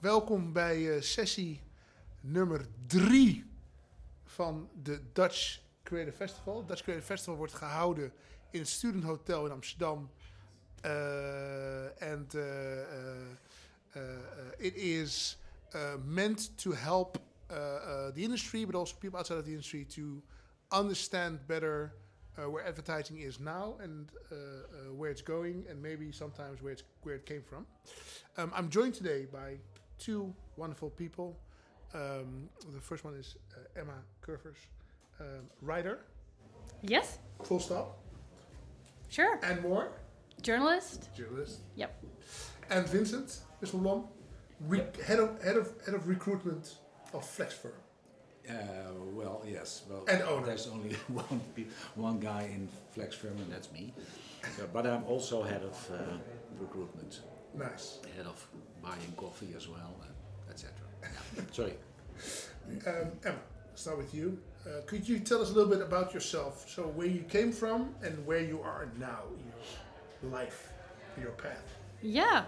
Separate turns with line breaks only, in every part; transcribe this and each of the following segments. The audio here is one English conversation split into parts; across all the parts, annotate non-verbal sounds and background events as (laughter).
Welkom bij eh, sessie nummer drie van de Dutch Creative Festival. Het Dutch Creative Festival wordt gehouden in het Student Hotel in Amsterdam. Eh, En eh, eh, eh, eh, it is eh, meant to help eh, eh, the industry, but also people outside of the industry to understand better uh, where advertising is now and uh, uh, where it's going, and maybe sometimes where it's where it came from. Um, I'm joined today by two wonderful people. Um, the first one is uh, Emma Curvers, um, writer,
Yes,
full stop,
sure.
and more,
Journalist.
journalist,
Yep.
and Vincent Wisselblom, re- head of head of head of recruitment of Flexfirm.
Uh, well, yes. Well,
And owner.
There's only (laughs) one pe- one guy in Flex Firm, and that's me. So, but I'm also head of uh, recruitment,
Nice.
head of buying coffee as well, uh, etc. Yeah. Sorry.
Um, Emma, start with you. Uh, could you tell us a little bit about yourself? So, where you came from and where you are now in your life, in your path.
Yeah.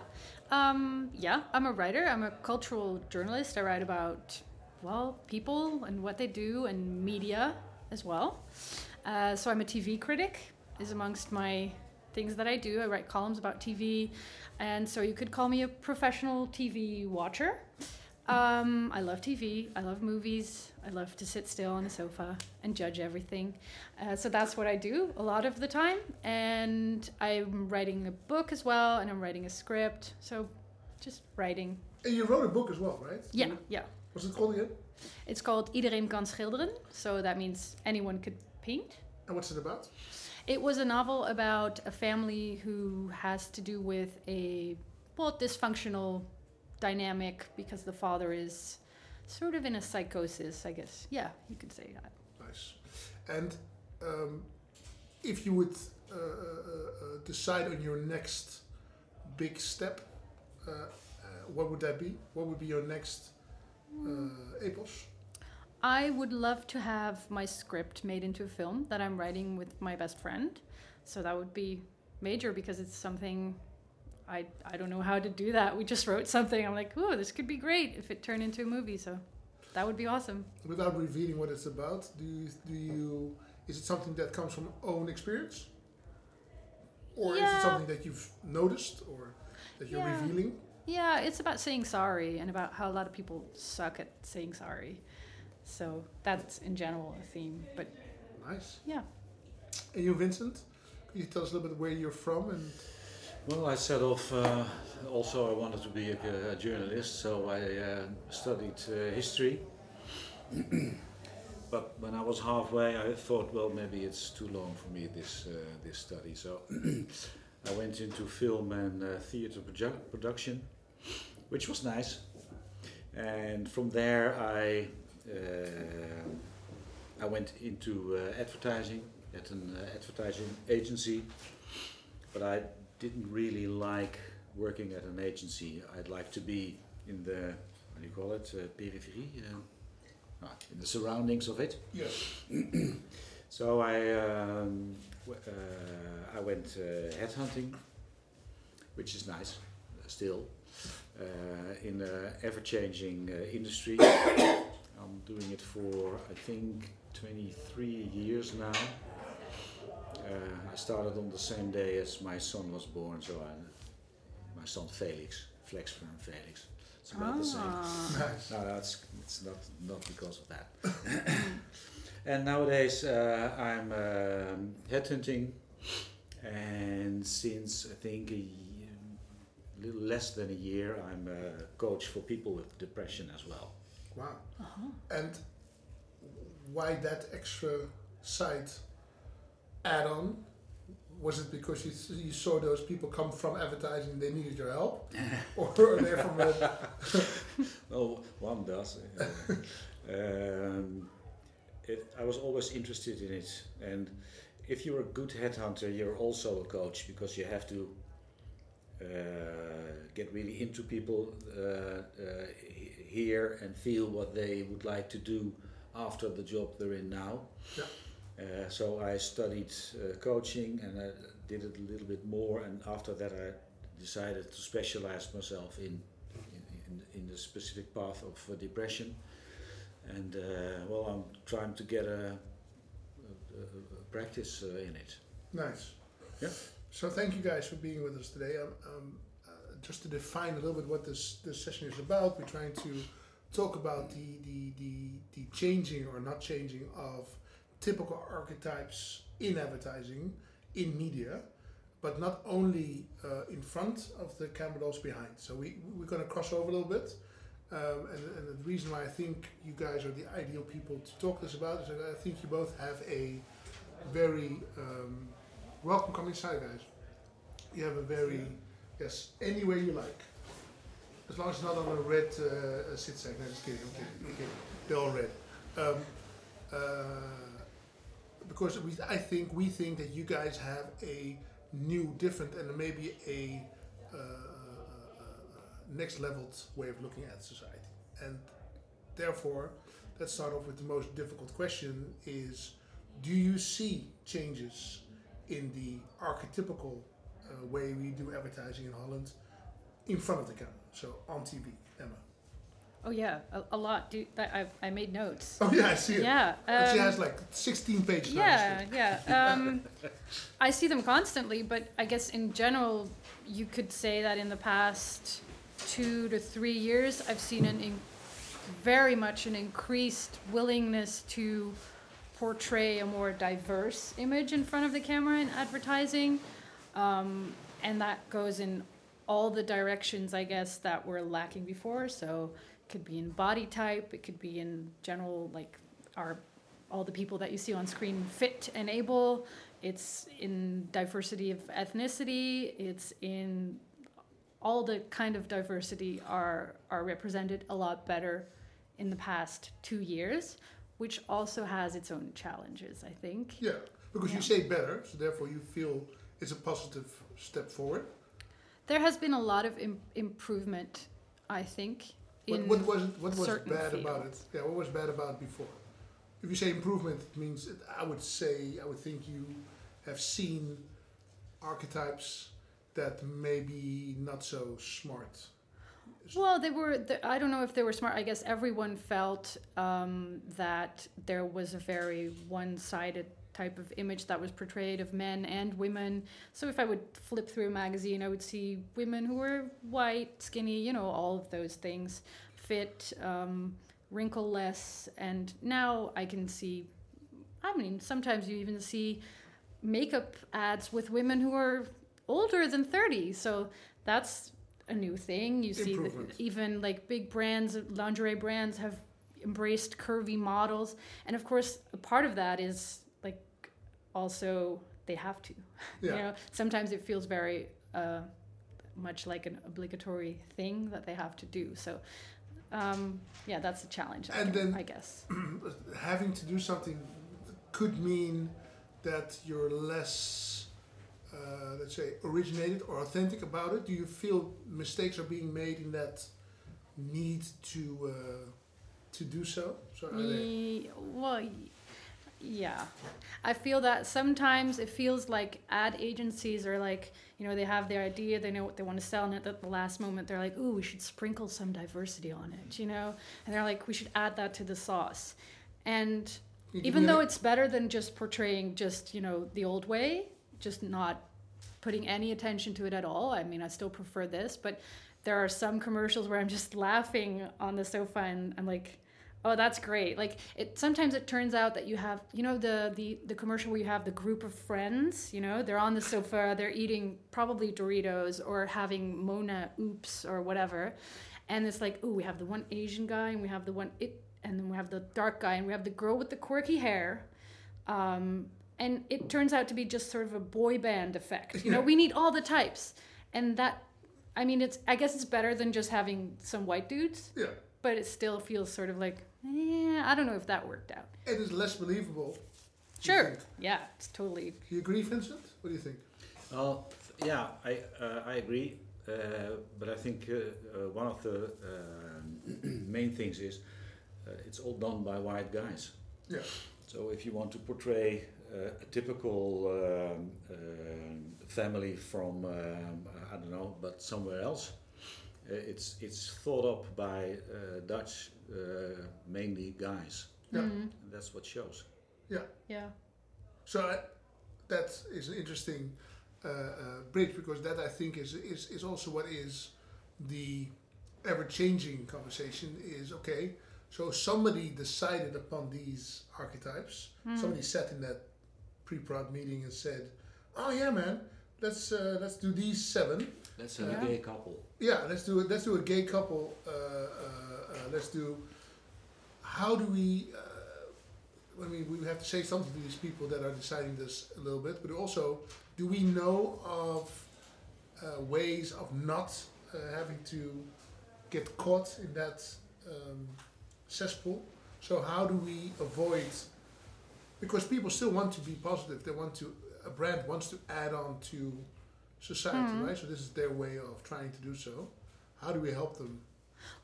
Um, yeah, I'm a writer. I'm a cultural journalist. I write about, well, people and what they do and media as well. Uh, so I'm a TV critic, is amongst my things that I do. I write columns about TV. And so you could call me a professional TV watcher. Um, I love TV. I love movies. I love to sit still on a sofa and judge everything. Uh, so that's what I do a lot of the time. And I'm writing a book as well, and I'm writing a script. So just writing.
And you wrote a book as well, right?
Yeah, yeah.
Was it called again?
It's called Iedereen kan schilderen. So that means anyone could paint.
And what's it about?
It was a novel about a family who has to do with a well dysfunctional dynamic because the father is sort of in a psychosis, I guess. Yeah, you could say that.
Nice. And um, if you would uh, uh, uh, decide on your next big step, uh, uh, what would that be? What would be your next uh, APOS?
I would love to have my script made into a film that I'm writing with my best friend. So that would be major because it's something I I don't know how to do that. We just wrote something. I'm like, "Ooh, this could be great if it turned into a movie." So that would be awesome.
Without revealing what it's about, do you, do you is it something that comes from own experience, or is
Yeah.
it something that you've noticed or that you're
Yeah.
revealing?
Yeah, it's about saying sorry and about how a lot of people suck at saying sorry. So that's in general a theme. But
Nice.
yeah,
And you, Vincent, could you tell us a little bit where you're from and
Well, I set off. Uh, also, I wanted to be a, a journalist, so I uh, studied uh, history. (clears throat) but when I was halfway, I thought, well, maybe it's too long for me this uh, this study. So (clears throat) I went into film and uh, theater produ- production, which was nice. And from there, I uh, I went into uh, advertising at an uh, advertising agency, but I didn't really like working at an agency. I'd like to be in the what do you call it, uh, periphery, uh, ah, in the surroundings of it.
yes,
So I um, w- uh, I went uh, headhunting, which is nice, uh, still, uh, in an ever-changing uh, industry. I'm doing it for I think 23 years now. Uh, I started on the same day as my son was born, so I, my son Felix, Flex from Felix. It's about the same. (laughs)
Ah.
nice.
No, that's it's not not because of that. (coughs) and nowadays uh, I'm um headhunting, and since I think a ye- little less than a year, I'm a coach for people with depression as well.
Wow.
Uh-huh.
And why that extra side add-on? Was it because you, you saw those people come from advertising and they needed your help, or are they from a,
(laughs) Oh, one does. uh, um, it, I was always interested in it, and if you're a good headhunter, you're also a coach because you have to uh, get really into people, uh, uh, he- hear and feel what they would like to do after the job they're in now.
Yeah.
Uh, so I studied uh, coaching and I did it a little bit more, and after that I decided to specialize myself in in, in the specific path of uh, depression. And uh, well, I'm trying to get a, a, a- a practice uh, in it.
Nice.
Yeah.
So thank you guys for being with us today. Um, um, uh, just to define a little bit what this this session is about, we're trying to talk about the the the, the changing or not changing of typical archetypes in advertising, in media, but not only uh, in front of the camera, but also behind. So we we're going to cross over a little bit. Um, and, and the reason why I think you guys are the ideal people to talk this about is that I think you both have a very um, welcome. Come inside, guys. You have a very yes, anywhere you like, as long as it's not on a red uh, uh, sit sack. No, just kidding. I'm kidding. I'm kidding. They're all red. Um, uh, because we, I think we think that you guys have a new, different, and maybe a uh, uh, uh, next leveled way of looking at society. And therefore, let's start off with the most difficult question: is do you see changes in the archetypical uh, way we do advertising in Holland in front of the camera? So on TV, Emma. (laughs)
Oh yeah, a, a lot. Do, that, I, I made notes.
Oh yeah, I see it.
Yeah.
And she
um,
has like 16 pages. now, this thing.
Yeah, yeah. Um, I see them constantly, but I guess in general, you could say that in the past two to three years, I've seen an in- very much an increased willingness to portray a more diverse image in front of the camera in advertising, um, and that goes in all the directions I guess that were lacking before. So it could be in body type, it could be in general like our all the people that you see on screen fit and able. It's in diversity of ethnicity. It's in all the kind of diversity are are represented a lot better in the past two years, which also has its own challenges. I think.
Yeah, because you
Yeah.
say better, so therefore you feel it's a positive step forward.
There has been a lot of Im- improvement, I think.
What,
in-
what was it, what was
certain
bad about it? Yeah, what was bad about it before? If you say improvement, it means that I would say I would think you have seen archetypes that maybe not so smart.
Well, they were. th I don't know if they were smart. I guess everyone felt um, that there was a very one-sided type of image that was portrayed of men and women. So if I would flip through a magazine, I would see women who were white, skinny, you know, all of those things, fit, um, wrinkleless, and now I can see. I mean, sometimes you even see makeup ads with women who are older than 30. So that's a new thing. You see that
Improvement.
even like big brands, lingerie brands have embraced curvy models. And of course, a part of that is like also they have to.
Yeah.
You know, sometimes it feels very uh, much like an obligatory thing that they have to do. So um, yeah, that's a challenge. I
And
gu-
then-
I guess.
(clears throat) having to do something could mean that you're less, uh, let's say, originated or authentic about it. Do you feel mistakes are being made in that need to uh, to do so? So
Mm,
are they,
Ye- Well, y- yeah. I feel that sometimes it feels like ad agencies are like, you know, they have their idea, they know what they want to sell, and at the- the last moment they're like, ooh, we should sprinkle some diversity on it, you know? And they're like, we should add that to the sauce. And
Can you give
even
me an
though it's better than just portraying just you know the old way just not putting any attention to it at all i mean i still prefer this but there are some commercials where i'm just (laughs) laughing on the sofa and i'm like oh that's great like it sometimes it turns out that you have you know the the, the commercial where you have the group of friends you know they're on the sofa they're eating probably doritos or having mona oops or whatever and it's like oh we have the one asian guy and we have the one it and then we have the dark guy and we have the girl with the quirky hair um, and it turns out to be just sort of a boy band effect you know we need all the types and that i mean it's i guess it's better than just having some white dudes
Yeah,
but it still feels sort of like eh, i don't know if that worked out
it is less believable. you
sure
think.
yeah it's totally
Do you agree, Vincent? What do you think?
Well, th- yeah, I uh, I agree, uh, but I think uh, uh, one of the um (clears throat) main things is uh, it's all done by white guys.
Yeah.
So if you want to portray uh, a typical um, uh, um family from um, I don't know, but somewhere else, Uh, it's it's thought up by uh, Dutch, uh, mainly guys.
Yeah.
Mhm.
And that's what shows.
Yeah.
So I, that is an interesting uh, uh, bridge because that I think is is, is also what is the ever changing conversation is okay. So somebody decided upon these archetypes. Somebody sat in that pre-prod meeting and said, "Oh yeah, man, let's uh, let's do these seven.
That's
a Yeah.
gay couple.
Yeah, let's do it. Let's do a gay couple. Uh, uh, uh, let's do. How do we? Uh, I mean, we have to say something to these people that are deciding this a little bit, but also, do we know of uh, ways of not uh, having to get caught in that um, cesspool? So how do we avoid? Because people still want to be positive. They want to. A brand wants to add on to society,
Mhm.
right? So this is their way of trying to do so. How do we help them?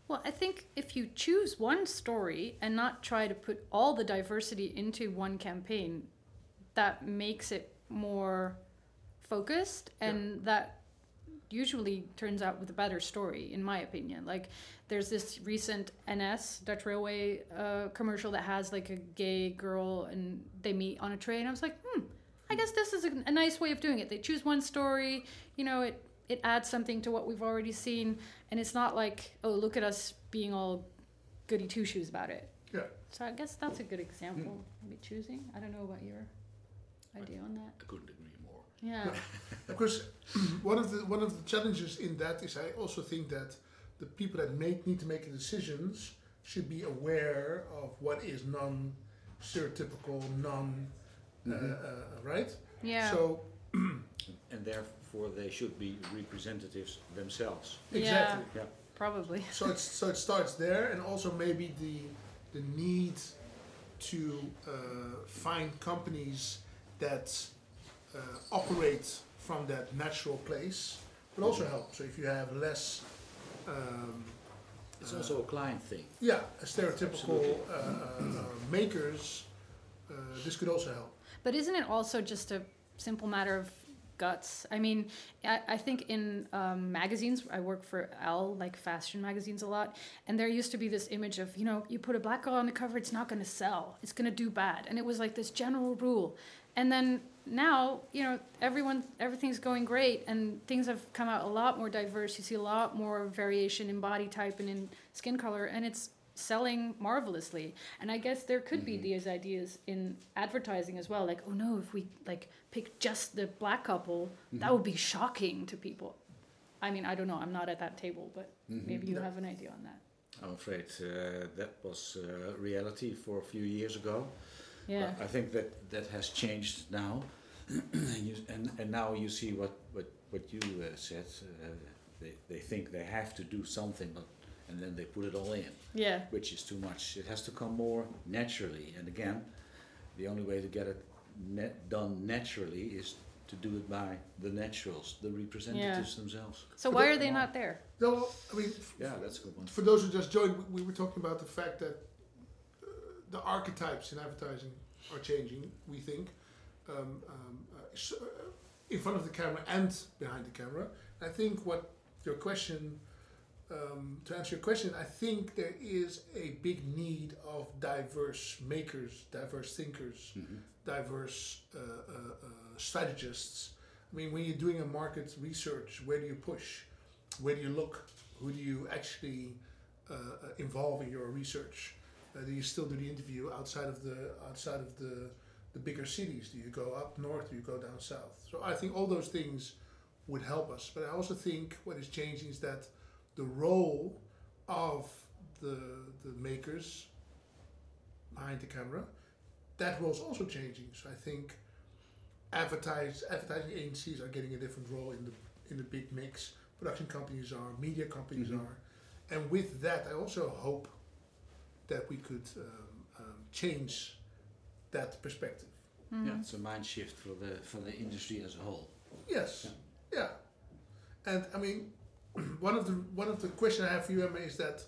Well, I think if you choose one story and not try to put all the diversity into one campaign, that makes it more focused and that usually turns out with a better story in my opinion like there's this recent ns dutch railway uh, commercial that has like a gay girl and they meet on a train i was like hmm i guess this is a, a nice way of doing it they choose one story you know it it adds something to what we've already seen and it's not like oh look at us being all goody two shoes about it
Yeah.
so i guess that's a good example maybe choosing i don't know about your idea on that
I couldn't agree more.
yeah
Of course, (clears throat) one of the one of the challenges in that is I also think that the people that make need to make the decisions should be aware of what is non stereotypical, non
Mhm.
uh, uh, right.
yeah
So
And therefore, they should be representatives themselves.
Yeah.
exactly.
Yeah.
probably
So it's so it starts there, and also maybe the the need to uh, find companies that uh, operate from that natural place will also
Mm-hmm.
help. So if you have less, um,
It's
uh,
also a client thing.
yeah, stereotypical
Absolutely.
uh, uh, uh, makers, uh, this could also help.
(laughs) But isn't it also just a simple matter of guts? I mean, I, I think in um, magazines, I work for L, like fashion magazines a lot, and there used to be this image of, you know, you put a black girl on the cover, it's not going to sell, it's going to do bad. And it was like this general rule. And then now, you know, everyone, everything's going great, and things have come out a lot more diverse. You see a lot more variation in body type and in skin color, and it's selling marvelously. And I guess there could be
Mhm.
these ideas in advertising as well, like, oh no, if we like pick just the black couple, that
Mhm.
would be shocking to people. I mean, I don't know. I'm not at that table, but maybe you
No.
have an idea on that.
I'm afraid uh, that was uh, reality for a few years ago.
Yeah.
I I think that that has changed now, (clears throat) and, you- and and now you see what what what you uh, said. Uh, they they think they have to do something, but and then they put it all in,
Yeah.
which is too much. It has to come more naturally. And again, the only way to get it net done naturally is to do it by the naturals, the representatives themselves.
So
But
why
that-
are they not there?
No, I mean, f-
Yeah, that's a good one.
for those who just joined, we- we were talking about the fact that uh, the archetypes in advertising are changing. We think um, um, uh, s- uh, in front of the camera and behind the camera. I think what your question um, to answer your question, I think there is a big need of diverse makers, diverse thinkers,
Mhm.
diverse uh, uh, uh, strategists. I mean, when you're doing a market research, where do you push? Where do you look? Who do you actually uh, uh, involve in your research? Uh, do you still do the interview outside of the outside of the the bigger cities? Do you go up north? Do you go down south? So I think all those things would help us. But I also think what is changing is that the role of the the makers behind the camera that role's also changing. So I think advertise advertising agencies are getting a different role in the in the big mix. Production companies are, media companies
Mhm.
are, and with that, I also hope that we could um, um, change that perspective.
Hmm.
Yeah, it's a mind shift for the for the industry as a whole.
Yes. Yeah. And I mean, (clears throat) one of the one of the question I have for you, Emma, is that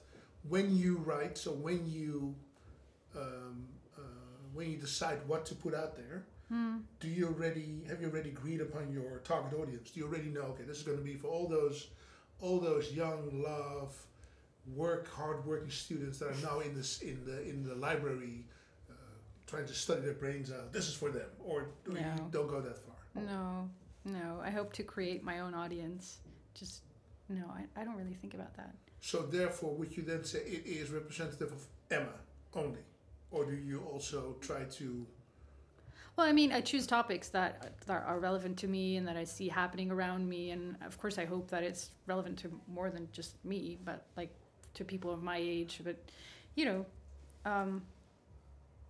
when you write, so when you um, uh, when you decide what to put out there,
Hmm.
do you already have you already agreed upon your target audience? Do you already know? Okay, this is going to be for all those all those young, love, work, hardworking students that are now in this in the in the library, uh, trying to study their brains out. This is for them, or, or you
No.
don't go that far.
Mm. No, no. I hope to create my own audience. Just no, I, I don't really think about that.
So therefore, would you then say it is representative of Emma only, or do you also try to?
Well, I mean, I choose topics that, that are relevant to me and that I see happening around me, and of course, I hope that it's relevant to more than just me, but like to people of my age. But you know, um,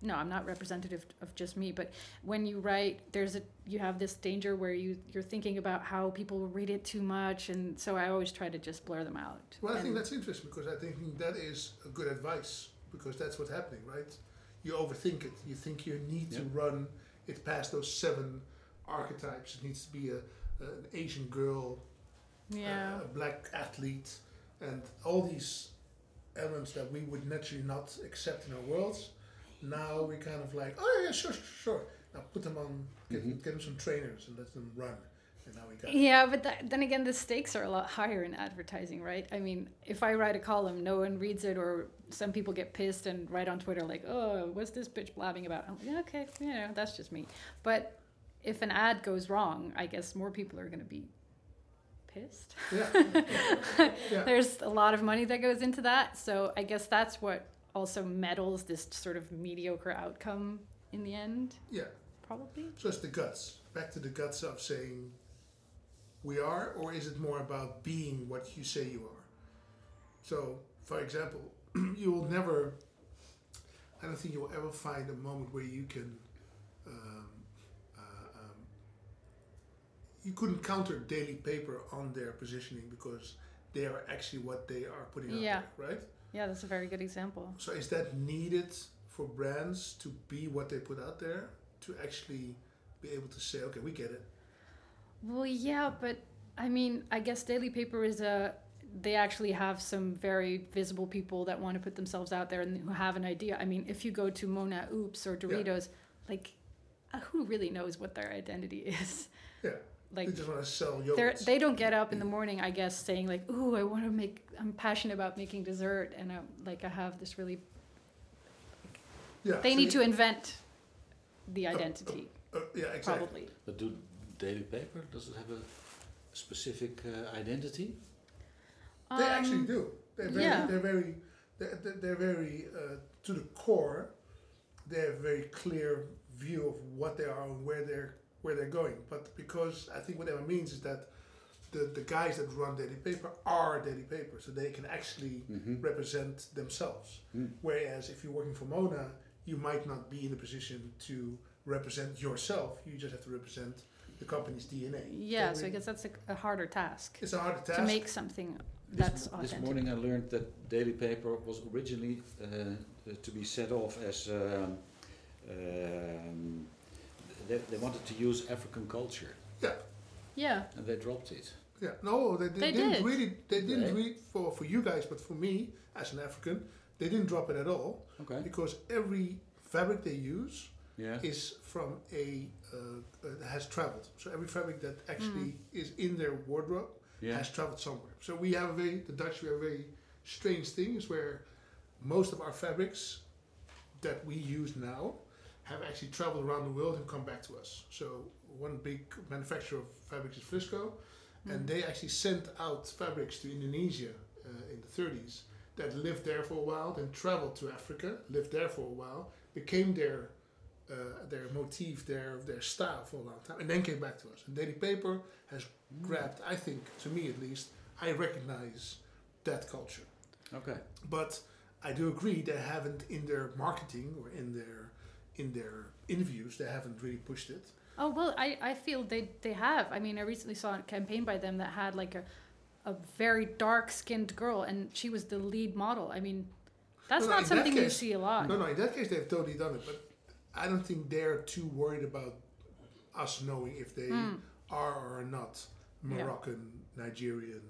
no, I'm not representative of just me. But when you write, there's a you have this danger where you you're thinking about how people read it too much, and so I always try to just blur them out.
Well, I think
And-
that's interesting because I think that is a good advice because that's what's happening, right? You overthink it. You think you need to
Yeah.
run it past those seven archetypes. It needs to be a, an Asian girl,
yeah.
a, a uh, black athlete, and all these elements that we would naturally not accept in our worlds. Now we're kind of like, oh yeah, sure, sure, sure. Now put them on, get,
Mhm.
get them some trainers and let them run. And now we got.
Yeah, but that, then again, the stakes are a lot higher in advertising, right? I mean, if I write a column, no one reads it, or some people get pissed and write on Twitter like, "Oh, what's this bitch blabbing about?" I'm like, "Yeah, "Okay, you know, that's just me." But if an ad goes wrong, I guess more people are going to be pissed.
Yeah, yeah.
There's a lot of money that goes into that, so I guess that's what also medals this sort of mediocre outcome in the end,
yeah.
probably.
So it's the guts. Back to the guts of saying we are, or is it more about being what you say you are? So, for example, (clears throat) you will never, I don't think you will ever find a moment where you can, um, uh, um, you couldn't counter Daily Paper on their positioning because they are actually what they are putting out
Yeah.
there, right?
Yeah, that's a very good example.
So is that needed for brands to be what they put out there to actually be able to say, okay, we get it.
Well, yeah, but I mean, I guess Daily Paper is a. They actually have some very visible people that want to put themselves out there and who have an idea. I mean, if you go to Mona Oops or Doritos, like, uh, who really knows what their identity (laughs) is?
Yeah.
Like,
they just want to sell
they're,
yogurts.
they don't get
(clears throat)
up in the morning, I guess, saying like, "Ooh, I want to make. I'm passionate about making dessert, and I like I have this really."
yeah,
They
so
need
you-
to invent the identity,
uh, yeah, exactly.
probably.
But do Daily Paper, does it have a specific uh, identity?
They actually
Um,
do. They're very,
yeah.
they're very, they're, they're- they're very uh, to the core. They have a very clear view of what they are and where they're where they're going. But because I think what that means is that the, the guys that run Daily Paper are Daily Paper, so they can actually
Mhm.
represent themselves.
Hmm.
Whereas if you're working for Mona, you might not be in a position to represent yourself. You just have to represent the company's DNA.
Yeah, so I
we-
guess that's a, a harder task.
it's a harder task.
to make something
This
that's
mo- this,
authentic.
morning I learned that Daily Paper was originally uh, uh, to be set off as um, um, they, they wanted to use African culture
yeah.
Yeah,
and they dropped it.
Yeah, no, they,
They
they, didn't
did.
really. They didn't
They-
really for for you guys, but for me as an African, they didn't drop it at all
Okay.
because every fabric they use
Yeah.
is from a uh, uh, has traveled. So every fabric that actually
Hmm.
is in their wardrobe
Yeah.
has traveled somewhere. So we have a very the Dutch we have a very strange thing is where most of our fabrics that we use now have actually traveled around the world and come back to us. So one big manufacturer of fabrics is Frisco,
Hmm. Mm.
and they actually sent out fabrics to Indonesia uh, in the 30s that lived there for a while, then traveled to Africa, lived there for a while, became their uh, their motif, their their style for a long time, and then came back to us. And Daily Paper has grabbed, I think, to me at least, I recognize that culture.
Okay.
But I do agree they haven't in their marketing or in their in their interviews they haven't really pushed it.
Oh well, I, I feel they they have. I mean, I recently saw a campaign by them that had like a a very dark skinned girl, and she was the lead model. I mean, that's
No, no,
not
in that
something you
case-
see a lot.
No, no, in that case they've totally done it, but I don't think they're too worried about us knowing if they
Mm.
are or are not
Yeah.
Moroccan, Nigerian,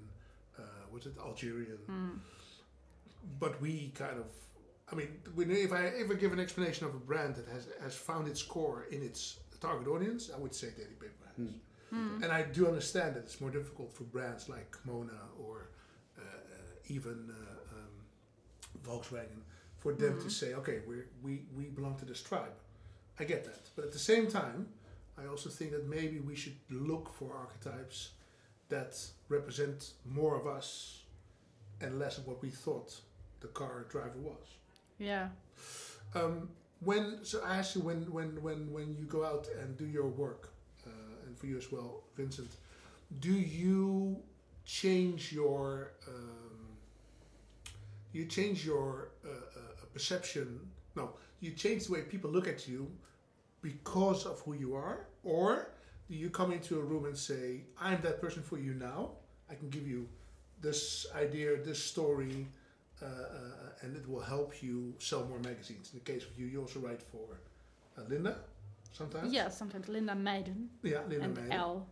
uh, what's it, Algerian.
Mm.
But we kind of, I mean, when, if I ever give an explanation of a brand that has has found its core in its target audience, I would say Daily Paper has.
Hmm.
And I do understand that it's more difficult for brands like Mona or uh, uh, even uh, um, Volkswagen for them to say, okay, we we we belong to this tribe. I get that, but at the same time, I also think that maybe we should look for archetypes that represent more of us and less of what we thought the car driver was.
Yeah.
Um, when so I asked you when when when when you go out and do your work, uh, and for you as well, Vincent, do you change your um, do you change your uh, uh, perception? No, do you change the way people look at you because of who you are, or do you come into a room and say, "I'm that person for you now. I can give you this idea, this story." uh, uh, and it will help you sell more magazines. In the case of you, you also write for uh, Linda sometimes.
Yeah, sometimes Linda Meiden
Yeah, Linda
and
Meijden.
L.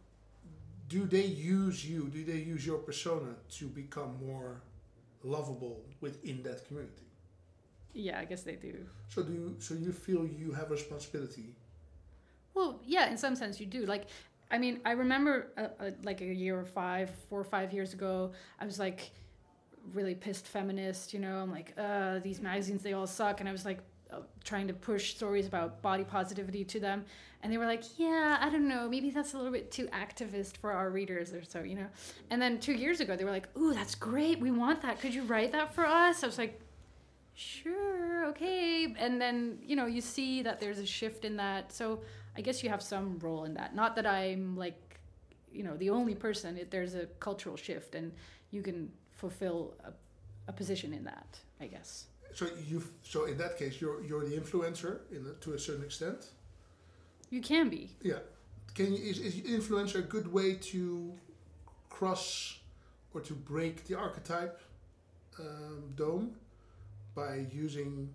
Do they use you? Do they use your persona to become more lovable within that community?
Yeah, I guess they do.
So do you, so you feel you have responsibility?
Well, yeah, in some sense you do. Like, I mean, I remember uh, uh, like a year or five, four or five years ago, I was like really pissed feminist, you know, I'm like, uh, these magazines, they all suck. And I was like uh, trying to push stories about body positivity to them. And they were like, yeah, I don't know, maybe that's a little bit too activist for our readers or so, you know. And then two years ago, they were like, ooh, that's great. We want that. Could you write that for us? I was like, sure, okay. And then, you know, you see that there's a shift in that. So, I guess you have some role in that. Not that I'm like, you know, the only person. It, there's a cultural shift, and you can fulfill a, a position in that. I guess.
So you so in that case, you're you're the influencer in a, to a certain extent.
You can be.
Yeah. Can you, is, is influencer a good way to cross or to break the archetype um, dome by using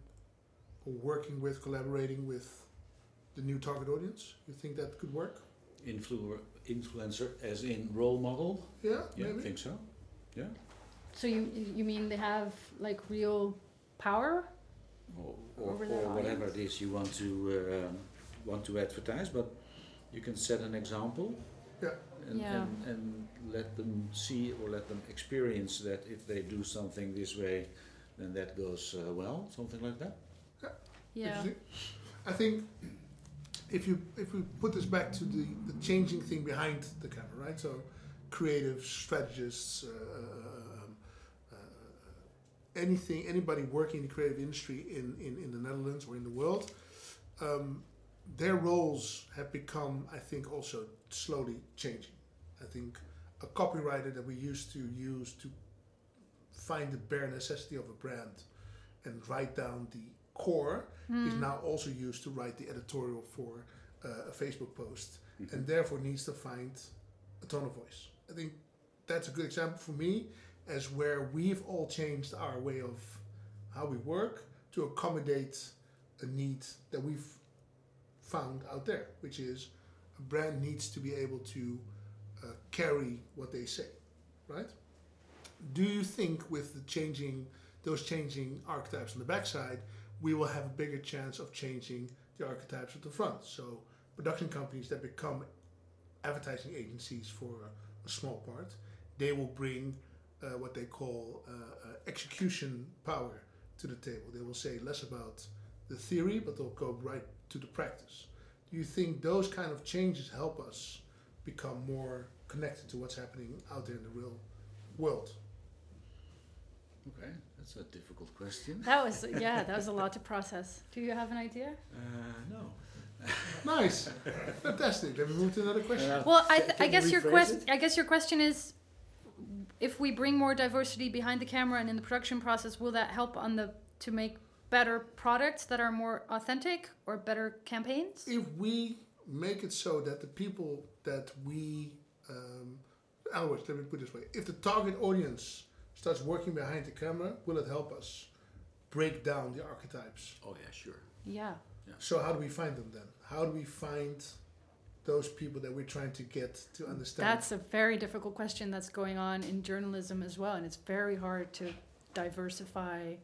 or working with, collaborating with the new target audience? You think that could work?
Influ- influencer as in role model?
Yeah,
Yeah, I
maybe.
think so. Yeah.
So you you mean they have like real power?
Or, or,
Over that
or whatever
audience.
it is you want to um, want to advertise, but you can set an example.
Yeah.
And,
Yeah.
and, and let them see or let them experience that if they do something this way, then that goes uh, well, something like that.
Yeah.
Interesting. I think if you if we put this back to the, the changing thing behind the camera, right? So creative strategists, uh, uh, um, uh, anything, anybody working in the creative industry in, in, in the Netherlands or in the world, um, their roles have become, I think, also slowly changing. I think a copywriter that we used to use to find the bare necessity of a brand and write down the core is now also used to write the editorial for uh, a Facebook post and therefore needs to find a tone of voice. I think that's a good example for me as where we've all changed our way of how we work to accommodate a need that we've found out there, which is a brand needs to be able to uh, carry what they say, right? Do you think with the changing those changing archetypes on the backside, we will have a bigger chance of changing the archetypes at the front. So production companies that become advertising agencies for a small part, they will bring uh, what they call uh, uh, execution power to the table. They will say less about the theory, but they'll go right to the practice. Do you think those kind of changes help us become more connected to what's happening out there in the real world?
Okay, that's a difficult question.
That was yeah. That was a lot to process. Do you have an idea?
Uh, no.
Nice, fantastic. Then we move to another question.
Uh,
Well, I,
can
th- I
you
guess your
rephrase
question.
it?
I guess your question is, if we bring more diversity behind the camera and in the production process, will that help on the to make better products that are more authentic or better campaigns?
If we make it so that the people that we, um, otherwise, let me put it this way: if the target audience starts working behind the camera, will it help us break down the archetypes?
Oh, yeah, sure.
Yeah.
So how do we find them then? How do we find those people that we're trying to get to understand?
That's a very difficult question that's going on in journalism as well, and it's very hard to diversify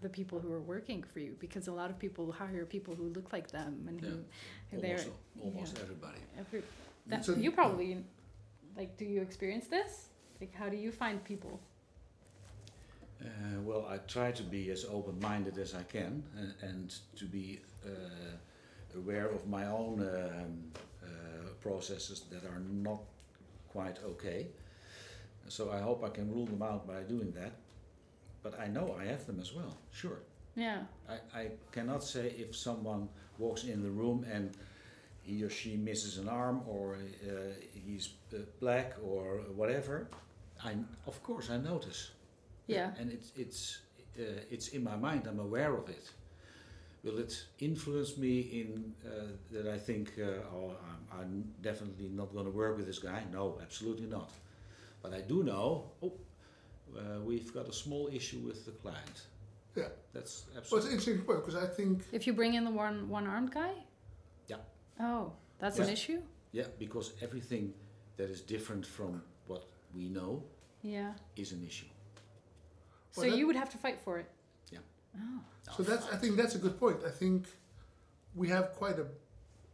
the people who are working for you because a lot of people hire people who look like them and who, who they're
Almost, almost everybody.
every, That,
So-
you probably like. Do you experience this? Like, how do you find people?
Uh, well, I try to be as open minded as I can and, and to be uh, aware of my own um, uh, processes that are not quite okay. So I hope I can rule them out by doing that. But I know I have them as well, sure.
Yeah.
I, I cannot say if someone walks in the room and he or she misses an arm or uh, he's uh, black or whatever. I, of course, I notice.
Yeah.
And it's it's uh, it's in my mind. I'm aware of it. Will it influence me in uh, that I think, uh, oh, I'm, I'm definitely not going to work with this guy? No, absolutely not. But I do know. Oh, uh, we've got a small issue with the client.
Yeah.
That's
Well, it's
absolutely.
an interesting point because I think
If you bring in the one one armed guy.
Yeah.
Oh, that's an
Yeah.
issue.
Yeah, because everything that is different from what we know
Yeah.
is an issue.
So
Well, that-
you would have to fight for it.
Yeah.
Oh.
so. That's I think that's a good point. I think we have quite a,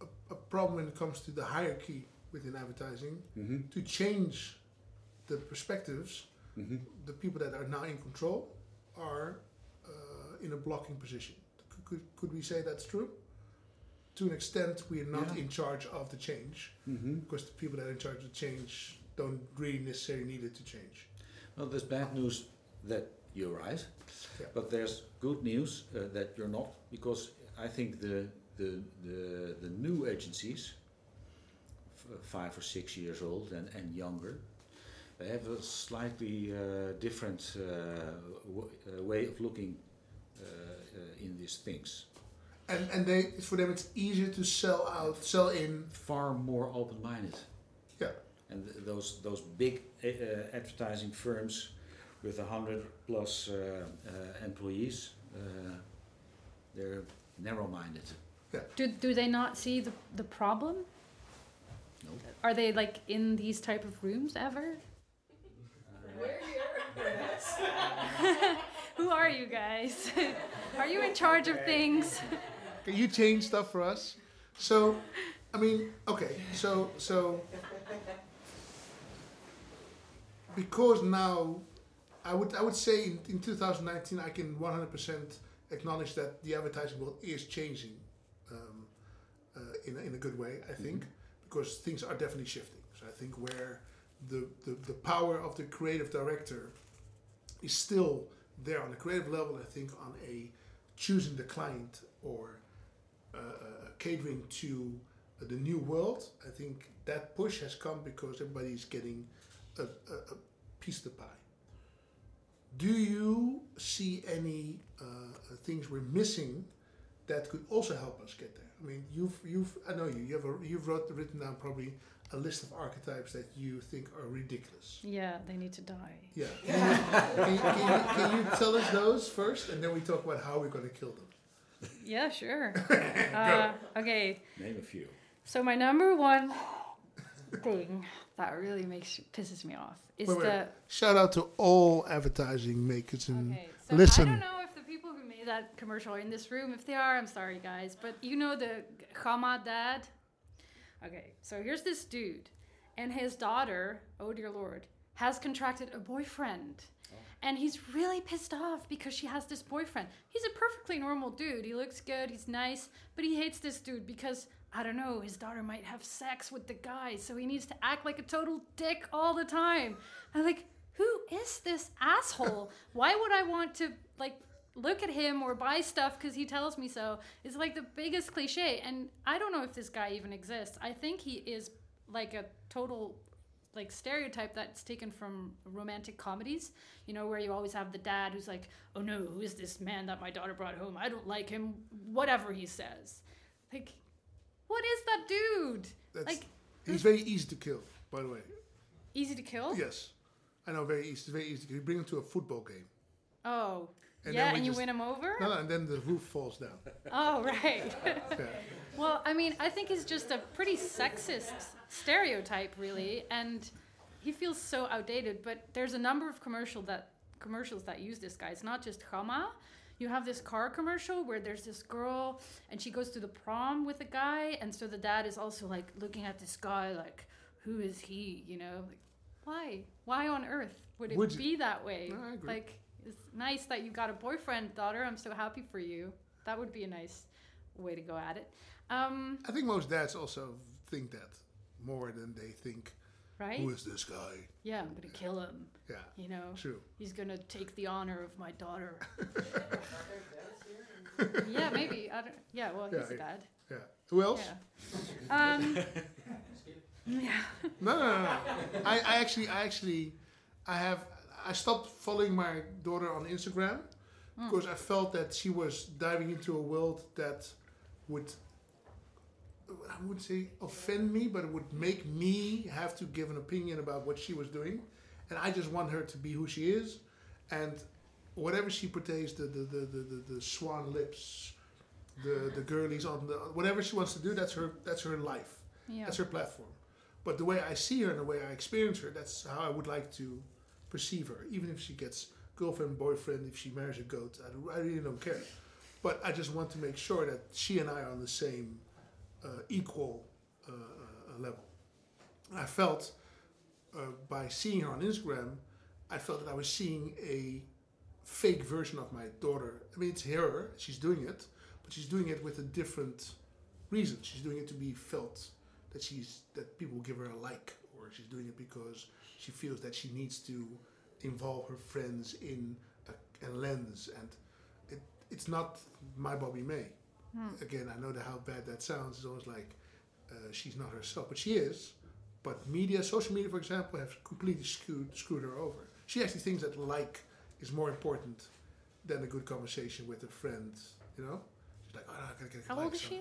a, a problem when it comes to the hierarchy within advertising.
Mm-hmm.
To change the perspectives,
Mm-hmm.
the people that are now in control are uh, in a blocking position. Could, could, could we say that's true? To an extent, we are not
Yeah.
in charge of the change
Mm-hmm.
because the people that are in charge of the change don't really necessarily need it to change.
Well, there's bad news that you're right,
Yeah.
but there's good news uh, that you're not, because I think the the the, the new agencies, f- five or six years old and, and younger, they have a slightly uh, different uh, w- uh, way of looking uh, uh, in these things.
And, and they for them it's easier to sell out, sell in.
Far more open-minded.
Yeah.
And th- those those big uh, uh, advertising firms with a hundred plus uh, uh, employees, uh, they're narrow-minded.
Do, do they not see the, the problem?
No.
Are they like in these type of rooms ever?
Uh,
Who are you guys? (laughs) are you in charge of things?
Can you change stuff for us? So, I mean, okay, so so because now, I would I would say in, in 2019 I can 100% acknowledge that the advertising world is changing, um, uh, in a, in a good way. I think because things are definitely shifting. So I think where the, the the power of the creative director is still there on a creative level. I think on a choosing the client or uh, uh, catering to the new world. I think that push has come because everybody's getting a, a, a piece of the pie. Do you see any uh, uh, things we're missing that could also help us get there? I mean, you've you've I know you you have a, you've wrote, written down probably a list of archetypes that you think are ridiculous.
Yeah, they need to die.
Yeah. Can you, can, you, can you tell us those first, and then we talk about how we're going to kill them?
Yeah,
(laughs)
sure. Uh, okay,
Name a few.
so my number one thing that really makes pisses me off is
Wait, wait.
the
Shout out to all advertising makers and
Okay, so
listen.
I don't know if the people who made that commercial are in this room, if they are, I'm sorry, guys, but you know the Hamad dad. Okay, so here's this dude, and his daughter, oh dear lord, has contracted a boyfriend, and he's really pissed off because she has this boyfriend. He's a perfectly normal dude. He looks good, he's nice, but he hates this dude because. I don't know, his daughter might have sex with the guy, so he needs to act like a total dick all the time. I'm like, who is this asshole? Why would I want to like look at him or buy stuff because he tells me so? It's like the biggest cliche, and I don't know if this guy even exists. I think he is like a total like stereotype that's taken from romantic comedies you know where you always have the dad who's like oh no who is this man that my daughter brought home i don't like him whatever he says like what is that dude
That's,
like
he's very easy to kill, by the way.
easy to kill
Yes, I know. Very easy. It's very easy to kill. You bring him to a football game,
oh
And
yeah
then we
and you
just-
win him over
no, no, and then the roof falls down.
Oh, right. (laughs)
Yeah.
well, I mean, I think he's just a pretty sexist stereotype, really, and he feels so outdated. But there's a number of commercial that commercials that use this guy. It's not just Hama. you have this car commercial where there's this girl and she goes to the prom with a guy, and so the dad is also like looking at this guy like, who is he? You know, like why? Why on earth would it
Would you-
be that way?
No, I agree.
Like it's nice that you got a boyfriend, daughter. I'm so happy for you. That would be a nice way to go at it. Um,
I think most dads also think that more than they think,
right?
who is this guy?
yeah, I'm gonna kill him.
Yeah,
You know,
true.
he's gonna take the honor of my
(laughs)
daughter.
That's
yeah, maybe. I don't. Yeah, well,
Yeah,
he's a
yeah.
dad.
Yeah. Who else?
Yeah. Um,
No, no, no. no. I, I actually, I actually, I have, I stopped following my daughter on Instagram because I felt that she was diving into a world that would, I would say, offend me, but it would make me have to give an opinion about what she was doing, and I just want her to be who she is, and whatever she portrays, the the the the, the, the swan lips. The, the girlies on the whatever she wants to do that's her that's her life
yeah.
that's her platform. But the way I see her and the way I experience her, that's how I would like to perceive her. Even if she gets girlfriend, boyfriend, if she marries a goat, I, don't- I really don't care. But I just want to make sure that she and I are on the same uh, equal uh, uh, level. I felt uh, by seeing her on Instagram, I felt that I was seeing a fake version of my daughter. I mean, it's her, she's doing it, but she's doing it with a different reason. She's doing it to be felt that she's that people give her a like, or she's doing it because she feels that she needs to involve her friends in a, a lens, and it, it's not my Bobby May.
Hmm.
Again, I know that how bad that sounds. It's almost like uh, she's not herself, but she is. But media, social media, for example, have completely screwed, screwed her over. She actually thinks that like is more important than a good conversation with a friend. You know, she's like, oh, no, I gotta get a
How
like
old is
some-
she?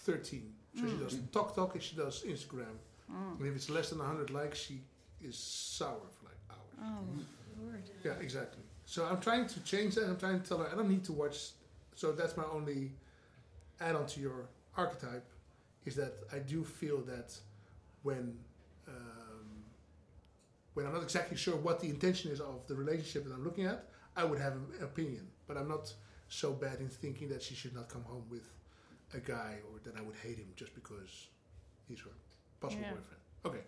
13. So she does TikTok and she does Instagram. And if it's less than 100 likes, she is sour for like hours.
Oh, Lord.
Yeah, exactly. So I'm trying to change that. I'm trying to tell her I don't need to watch. So that's my only add on to your archetype is that I do feel that when um, when I'm not exactly sure what the intention is of the relationship that I'm looking at, I would have an opinion. But I'm not so bad in thinking that she should not come home with a guy or that I would hate him just because he's her possible
Yeah.
boyfriend. Okay,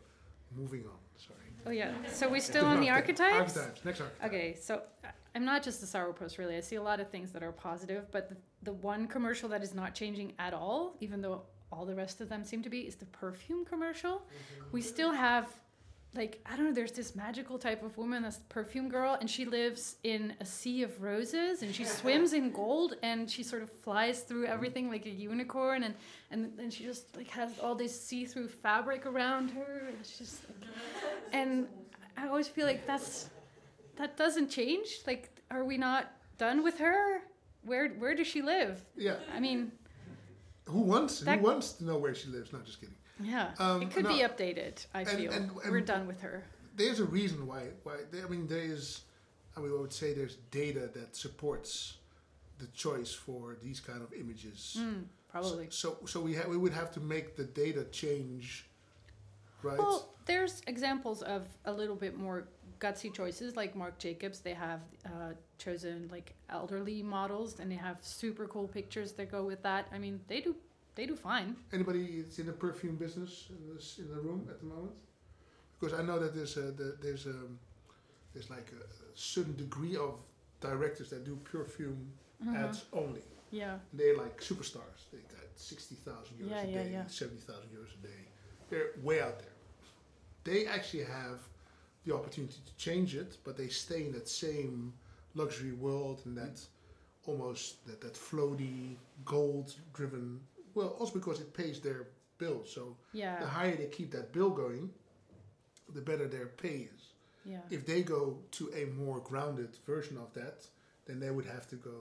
moving on. Sorry.
Oh, yeah. So we're still on the
Archetype.
archetypes?
Archetypes. Next archetype.
Okay, so I- I'm not just a sourpuss, really. I see a lot of things that are positive, but the, the one commercial that is not changing at all, even though all the rest of them seem to be, is the perfume commercial. We still have, like, I don't know, there's this magical type of woman, this perfume girl, and she lives in a sea of roses
(laughs)
and she swims in gold and she sort of flies through everything like a unicorn and, and, and she just like has all this see through fabric around her. And she's just like, and I always feel like that's that doesn't change. Like, are we not done with her? Where where does she live?
Yeah.
I mean,
Who wants?
That-
who wants to know where she lives? No, just kidding.
yeah,
Um,
it could
no.
be updated. I
And-
feel
and-
we're
and-
done with her.
There's a reason why. Why? There, I mean, there is. I mean, I would say there's data that supports the choice for these kind of images.
Mm, probably.
So, so, so we ha- we would have to make the data change, right?
Well, there's examples of a little bit more gutsy choices, like Marc Jacobs. They have uh, chosen like elderly models, and they have super cool pictures that go with that. I mean, they do they do fine.
Anybody that's in the perfume business in this in the room at the moment? Because I know that there's a, the, there's a, there's like a certain degree of directors that do perfume
Mm-hmm.
ads only.
Uh, Yeah,
they're like superstars. They got 60,000 euros
Yeah,
a
yeah,
day,
yeah.
70,000 euros a day. They're way out there. They actually have the opportunity to change it, but they stay in that same luxury world and that almost that, that floaty, gold driven. Well, also because it pays their bills. So the
yeah,
higher they keep that bill going, the better their pay is
yeah.
if they go to a more grounded version of that, then they would have to go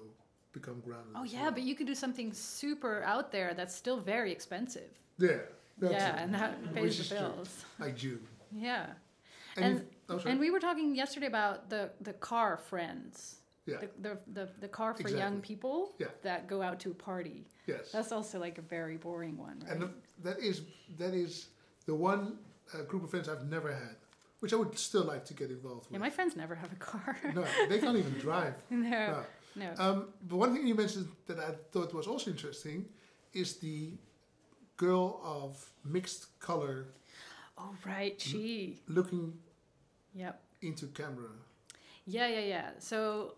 become grounded.
Oh
as
yeah,
well.
but you could do something super out there that's still very expensive.
yeah, that's
yeah,
it.
and that
Which
pays
is
the
true.
bills.
like June.
Yeah,
And,
And-
you've- oh, sorry.
and we were talking yesterday about the the car friends,
yeah,
the the the, the car for
Exactly.
young people
Yeah.
that go out to a party.
yes,
That's also like a very boring one, right?
and the, that is that is the one uh, group of friends I've never had, which I would still like to get involved
yeah,
with.
my friends never have a car. (laughs)
no, they can't even drive.
no.
No.
No.
Um, but one thing you mentioned that I thought was also interesting is the girl of mixed color
oh
Mm.
right, she.
looking
Yep.
into camera.
Yeah, yeah, yeah. So,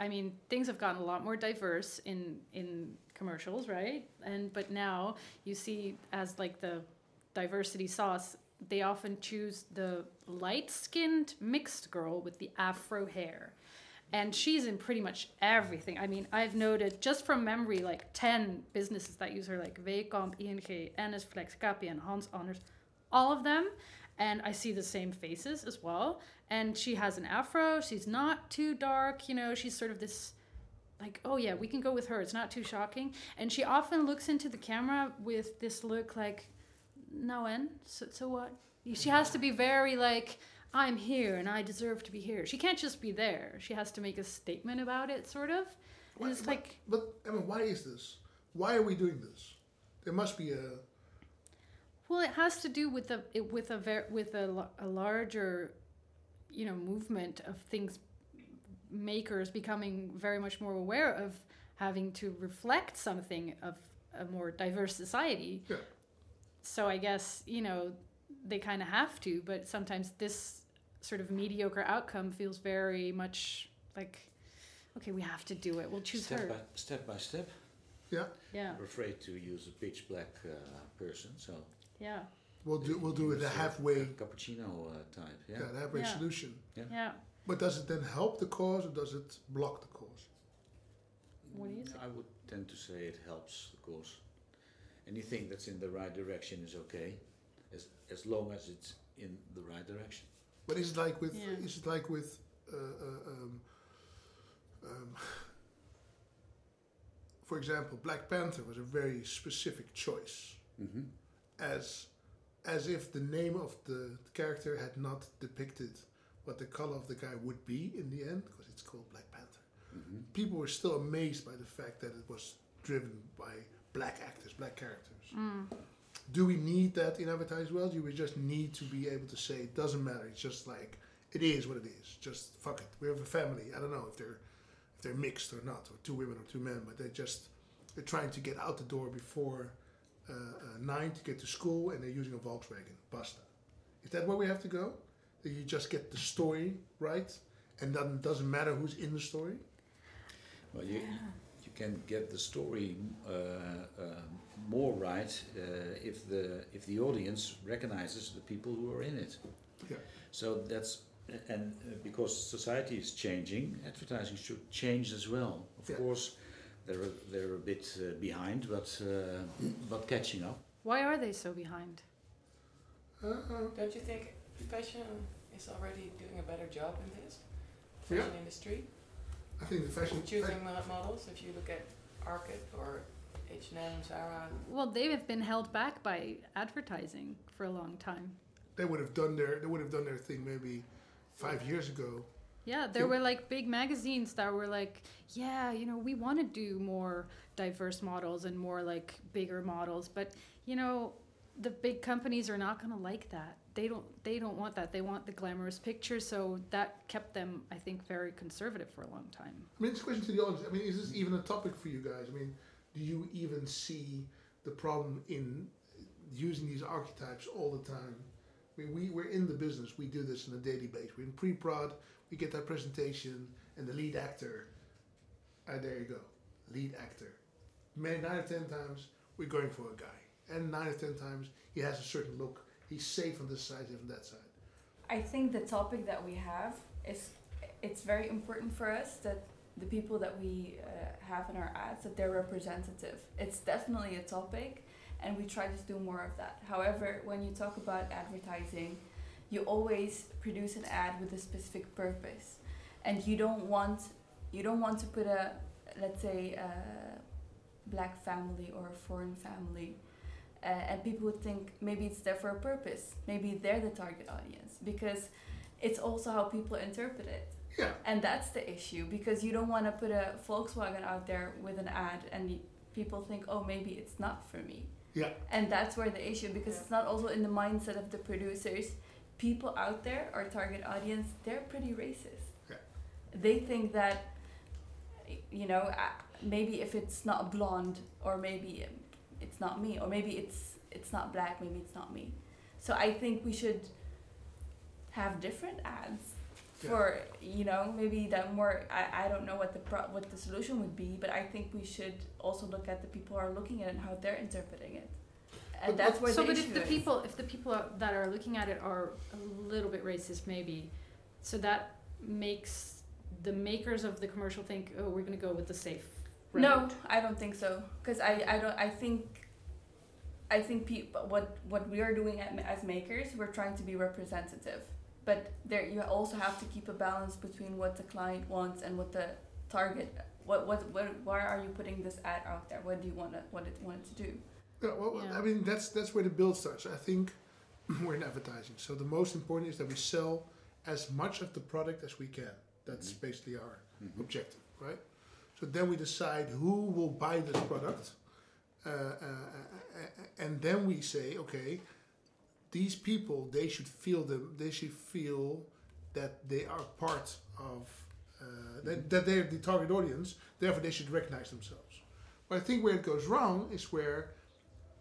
I mean, things have gotten a lot more diverse in in commercials, right? And but now you see as like the diversity sauce, they often choose the light-skinned mixed girl with the afro hair. And she's in pretty much everything. I mean, I've noted just from memory like 10 businesses that use her, like E Weekamp, ING, NS Flex, KPN, Hans Anders, all of them. And I see the same faces as well and she has an afro she's not too dark you know she's sort of this like oh yeah we can go with her it's not too shocking and she often looks into the camera with this look like no end so, so what she has to be very like i'm here and i deserve to be here she can't just be there she has to make a statement about it sort of
Why-
and it's
why-
like
But I mean, why is this? Why are we doing this? There must be a
Well, it has to do with a it, with a ver- with a, l- a larger, you know, movement of things makers becoming very much more aware of having to reflect something of a more diverse society.
Yeah.
So I guess you know they kind of have to, but sometimes this sort of mediocre outcome feels very much like, okay, we have to do it. We'll choose
step
her.
by step by step.
yeah.
Yeah,
We're afraid to use a pitch black uh, person, so
yeah,
We'll do we'll do it
use
a
a
halfway
cappuccino uh, type. Yeah.
yeah. the halfway
Yeah.
solution.
yeah.
But does it then help the cause or does it block the cause?
What do you
Mm,
think?
I would tend to say it helps, of course. Anything that's in the right direction is okay, as as long as it's in the right direction.
But is it like with
Yeah.
is it like with uh, uh, um, um, for example, Black Panther was a very specific choice,
Mm-hmm.
as as if the name of the character had not depicted what the color of the guy would be in the end, because it's called Black Panther.
Mm-hmm.
People were still amazed by the fact that it was driven by black actors, black characters.
Mm.
do we need that in advertising world? Do we just need to be able to say it doesn't matter? It's just like it is what it is. Just fuck it. We have a family. I don't know if they're if they're mixed or not, or two women or two men, but they're just they're trying to get out the door before uh, uh, nine to get to school, and they're using a Volkswagen. Basta. Is that where we have to go? That you just get the story right, and then it doesn't matter who's in the story.
Well, you you can get the story uh, uh, more right uh, if the if the audience recognizes the people who are in it.
Yeah.
So that's and uh, because society is changing, advertising should change as well. Of
Yeah.
course, they're a- they're a bit uh, behind, but uh, but catching up.
Why are they so behind?
Uh, uh,
(laughs) Don't you think fashion is already doing a better job in this?
Yeah.
Fashion industry,
I think the fashion.
choosing mo- models. If you look at Arket or H and M, Zara,
Well, they have been held back by advertising for a long time.
They would have done their they would have done their thing maybe five years ago.
Yeah, there
Yeah.
were like big magazines that were like, yeah, you know, we want to do more diverse models and more like bigger models, but you know, the big companies are not going to like that. They don't they don't want that. They want the glamorous picture, so that kept them I think very conservative for a long time.
I mean, it's a question to the audience. I mean, is this even a topic for you guys? I mean, do you even see the problem in using these archetypes all the time? I mean, we, we're in the business. We do this on a daily basis. We're in pre-prod. We get that presentation, and the lead actor. Ah, there you go, lead actor. Man, nine or ten times we're going for a guy, and nine or ten times he has a certain look. He's safe on this side, safe on that side.
I think the topic that we have is it's very important for us that the people that we uh, have in our ads that they're representative. It's definitely a topic, and we try to do more of that. However, when you talk about advertising, you always produce an ad with a specific purpose, and you don't want you don't want to put a let's say a black family or a foreign family uh, and people would think maybe it's there for a purpose maybe they're the target audience because it's also how people interpret it
Yeah,
and that's the issue because you don't want to put a volkswagen out there with an ad and y- people think oh maybe it's not for me
Yeah.
and that's where the issue because
Yeah.
it's not also in the mindset of the producers people out there our target audience they're pretty racist
Yeah.
they think that you know, I- maybe if it's not blonde, or maybe it's not me, or maybe it's it's not black, maybe it's not me. So I think we should have different ads
Yeah.
for you know maybe that more. I, I don't know what the pro- what the solution would be, but I think we should also look at the people who are looking at it and how they're interpreting it, and that's where
so
the
but
issue
if the
is.
people if the people are, that are looking at it are a little bit racist maybe so that makes the makers of the commercial think oh we're going to go with the safe route.
No, I don't think so. Because I, I don't. I think, I think people. What what we are doing at, as makers, we're trying to be representative. But there, you also have to keep a balance between what the client wants and what the target. What what what? Why are you putting this ad out there? What do you want? to What it want it to do?
Yeah, well,
Yeah.
I mean that's that's where the build starts. I think (clears throat) we're in advertising, so the most important is that we sell as much of the product as we can. That's
Mhm.
basically our
Mhm.
objective, right? So then we decide who will buy this product, uh, uh, uh, uh, and then we say, okay, these people they should feel them. They should feel that they are part of uh, that, that they're the target audience. Therefore, they should recognize themselves. But I think where it goes wrong is where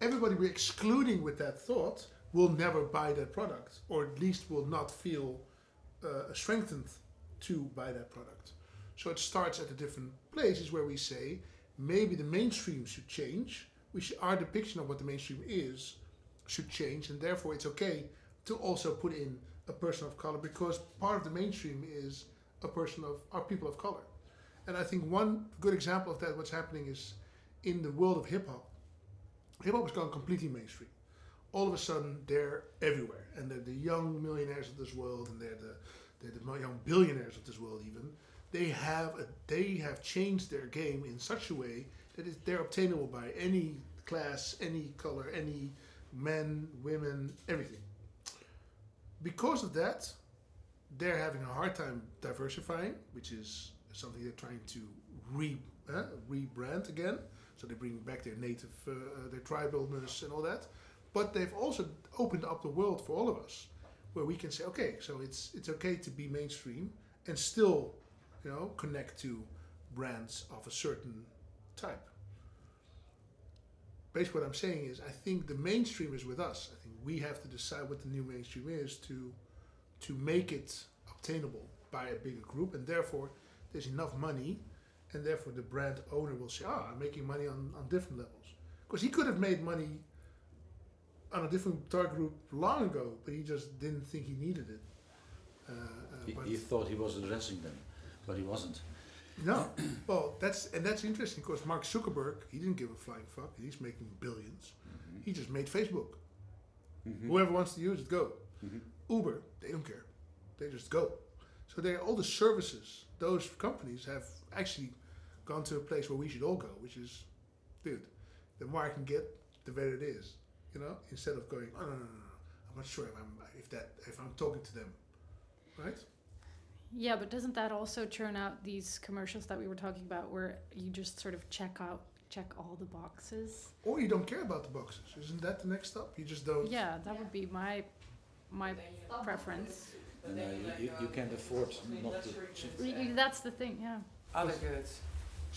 everybody we're excluding with that thought will never buy that product, or at least will not feel uh, strengthened to buy that product. So it starts at the different places where we say maybe the mainstream should change. We should, our depiction of what the mainstream is should change, and therefore it's okay to also put in a person of color because part of the mainstream is a person of are people of color. And I think one good example of that, what's happening is in the world of hip hop. Hip hop has gone completely mainstream. All of a sudden, they're everywhere, and they're the young millionaires of this world, and they're the they're the young billionaires of this world. Even they have a, they have changed their game in such a way that it, they're obtainable by any class, any color, any men, women, everything. Because of that, they're having a hard time diversifying, which is something they're trying to re uh, rebrand again. So they bring back their native, uh, uh, their tribalness and all that. But they've also opened up the world for all of us, where we can say, okay, so it's it's okay to be mainstream and still, you know, connect to brands of a certain type. Basically, what I'm saying is, I think the mainstream is with us. I think we have to decide what the new mainstream is to to make it obtainable by a bigger group, and therefore there's enough money, and therefore the brand owner will say, "Ah, I'm making money on, on different levels." Because he could have made money on a different target group long ago, but he just didn't think he needed it. Uh, uh,
He,
but-
he thought he was addressing them, but he wasn't.
no, (clears throat) well, that's and that's interesting because Mark Zuckerberg, he didn't give a flying fuck. He's making 1000000000s He just made Facebook. Whoever wants to use it, go. Uber, they don't care. They just go. So they all the services those companies have actually gone to a place where we should all go, which is, dude, the more I can get, the better it is. You know, instead of going, oh no no no, no. I'm not sure if I'm if that if I'm talking to them, right?
yeah but doesn't that also churn out these commercials that we were talking about where you just sort of check out check all the boxes
Or you don't care about the boxes. Isn't that the next step? You just don't.
yeah that would be my my
Then you-
preference
but
And,
then
uh,
you
you-
let
you-
go
you
of
can't
the-
afford
I mean,
not
that's
to
where you
change.
can say
that's the thing yeah
Other goods.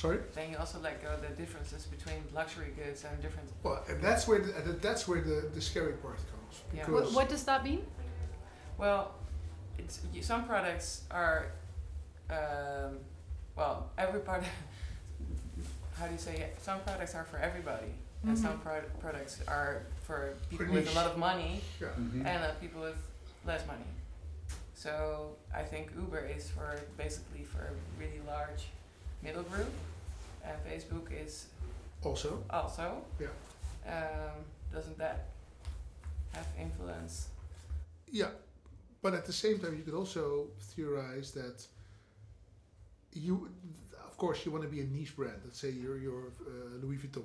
Sorry.
Then you also let go of the differences between luxury goods and different.
Well, and that's where the, and that's where the, the scary part comes
Yeah.
because
what, what does that mean
Well, it's you, some products are, um, well, every product. (laughs) How do you say it? Some products are for everybody, and some pro- products are for people with
niche. Mm-hmm.
a lot of money
yeah,
Mhm.
and uh, people with less money. So I think Uber is for basically for a really large middle group, and Facebook is
also
also.
Yeah.
Um, doesn't that have influence?
yeah, but at the same time you could also theorize that you, of course, you want to be a niche brand. Let's say you're you're uh, Louis Vuitton,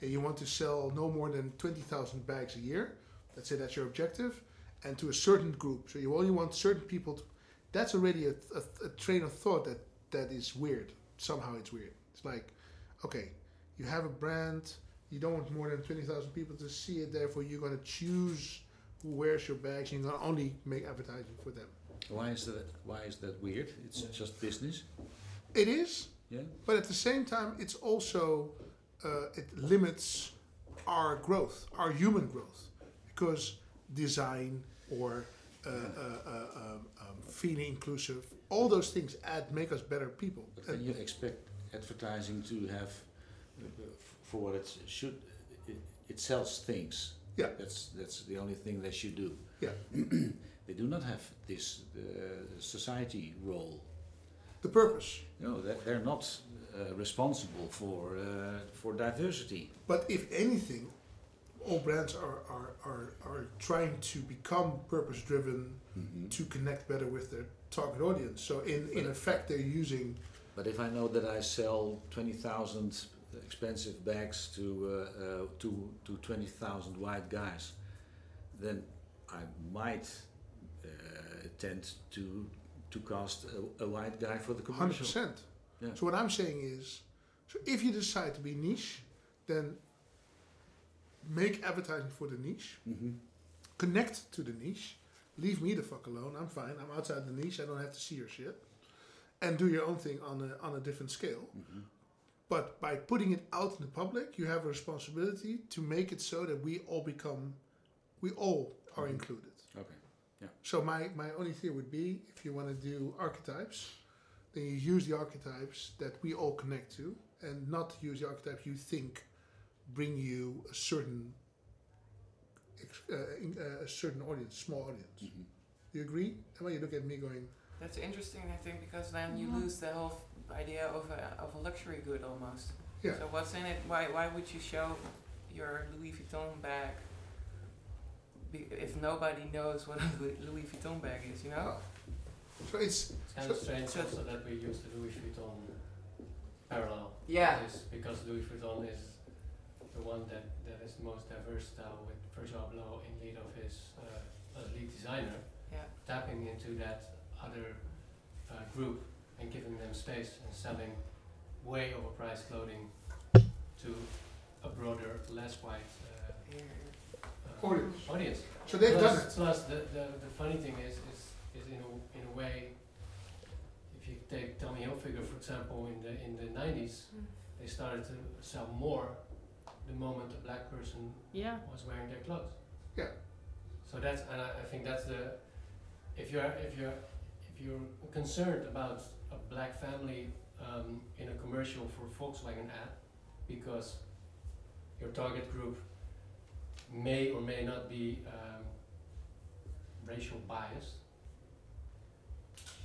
and you want to sell no more than twenty thousand bags a year. Let's say that's your objective, and to a certain group. So you only want certain people. To, that's already a, a, a train of thought that that is weird. Somehow it's weird. It's like, okay, you have a brand. You don't want more than twenty thousand people to see it. Therefore, you're going to choose who wears your bags. And you're going to only make advertising for them.
Why is that? Why is that weird? It's just business.
It is,
Yeah.
But at the same time, it's also uh, it limits our growth, our human growth, because design or uh, uh, uh, um, um, feeling inclusive, all those things add make us better people.
But
And
can you expect advertising to have, uh, uh, f- for what it should, it, it sells things.
Yeah.
That's that's the only thing they should do.
Yeah.
(clears throat) they do not have this uh, society role.
the purpose.
No, they're- they're not uh, responsible for uh, for diversity.
But if anything, all brands are, are, are, are trying to become purpose driven to connect better with their target audience. So, in, in
But-
effect, they're using.
But if I know that I sell twenty thousand expensive bags to uh, uh, to to twenty thousand white guys, then I might uh, tend to to cast a, a white guy for the
Hundred
commercial.
percent.
Yeah.
So what I'm saying is, so if you decide to be niche, then make advertising for the niche,
Mhm.
connect to the niche, leave me the fuck alone. I'm fine. I'm outside the niche. I don't have to see your shit, and do your own thing on a on a different scale.
Mm-hmm.
But by putting it out in the public, you have a responsibility to make it so that we all become, we all
Mm-hmm.
are included.
Okay.
So my, my only theory would be if you want to do archetypes, then you use the archetypes that we all connect to, and not use the archetypes you think bring you a certain ex- uh, in- uh, a certain audience, small audience.
Mhm.
You agree? And when you look at me going,
That's interesting, I think, because then you
Yeah.
lose the whole f- idea of a, of a luxury good almost.
Yeah.
So what's in it? Why why would you show your Louis Vuitton bag be, if nobody knows what a Louis- Louis Vuitton bag is? You know.
oh. so it's
It's kind of strange also that we use the Louis Vuitton parallel.
Yeah.
This, because Louis Vuitton is the one that, that is the most diverse now with Virgil Abloh in lead of his uh, uh, lead designer,
Yeah.
tapping into that other uh, group and giving them space and selling way overpriced clothing to a broader, less white uh,
Here,
uh,
audience.
audience.
So they've done
Plus,
it.
plus the, the, the funny thing is, is, is in a, in a way, if you take Tommy Hilfiger, for example, in the, in the nineties,
Mm.
they started to sell more the moment a black person
Yeah.
was wearing their clothes.
Yeah.
So that's, and I, I think that's the, if you're, if you're, if you're concerned about a black family, um, in a commercial for Volkswagen ad, because your target group may or may not be, um, racial biased,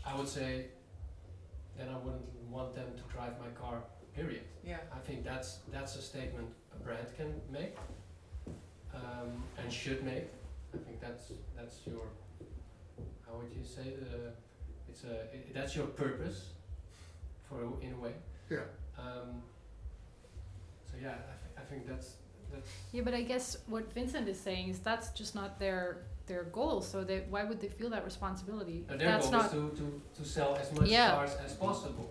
I would say, then I wouldn't want them to drive my car, period.
Yeah.
I think that's that's a statement a brand can make um, and should make. I think that's that's your how would you say the it's a i that's your purpose for a- in a way.
Yeah.
Um, so yeah, I, th- I think that's that's
Yeah, but I guess what Vincent is saying is that's just not their their goal. So they, why would they feel that responsibility?
uh,
If
their
that's
goal
not.
is to, to, to sell as much
Yeah.
cars as possible.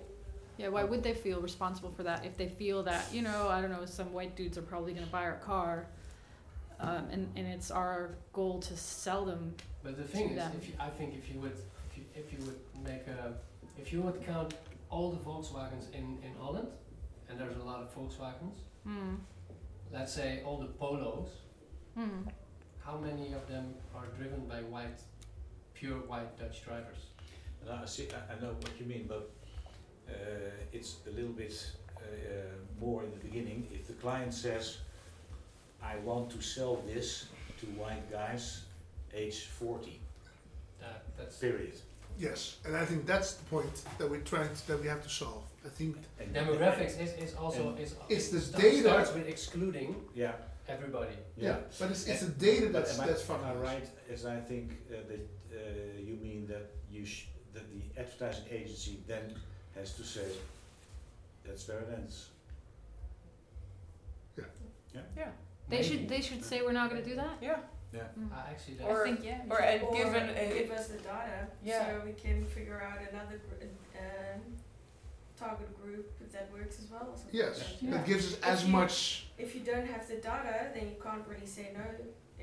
Yeah, why would they feel responsible for that if they feel that you know I don't know some white dudes are probably gonna buy our car, um, and and it's our goal to sell them.
But the thing is,
Yeah.
if you, I think if you would, if you, if you would make a, if you would count all the Volkswagens in, in Holland, and there's a lot of Volkswagens,
Hmm.
let's say all the Polos,
Hmm.
how many of them are driven by white, pure white Dutch drivers?
And I see. I, I know what you mean, but uh, it's a little bit uh, uh, more in the beginning. If the client says, "I want to sell this to white guys, age 40,"
That, that's,
period.
yes, and I think that's the point that we're trying to, that we have to solve. I think
And-
demographics is, is also,
And
is.
it's this
sta-
data-
Starts with excluding
Yeah.
everybody.
yeah, but it's, it's the data
But
that's
am I-
that's
am
fucking
I
us.
right? As I think uh, that uh, you mean that you sh- that the advertising agency then has to say that's where it ends.
Yeah.
They
Maybe.
should they should say we're not gonna do that.
Yeah.
Hmm.
I actually, that-
Or-
Or-
I think, yeah. we
or
should-
and
or
given a-
give us the data
Yeah.
so we can figure out another gr- um, target group that works as well. or something
Yes,
like that.
that gives us as
If you-
much.
If you don't have the data, then you can't really say no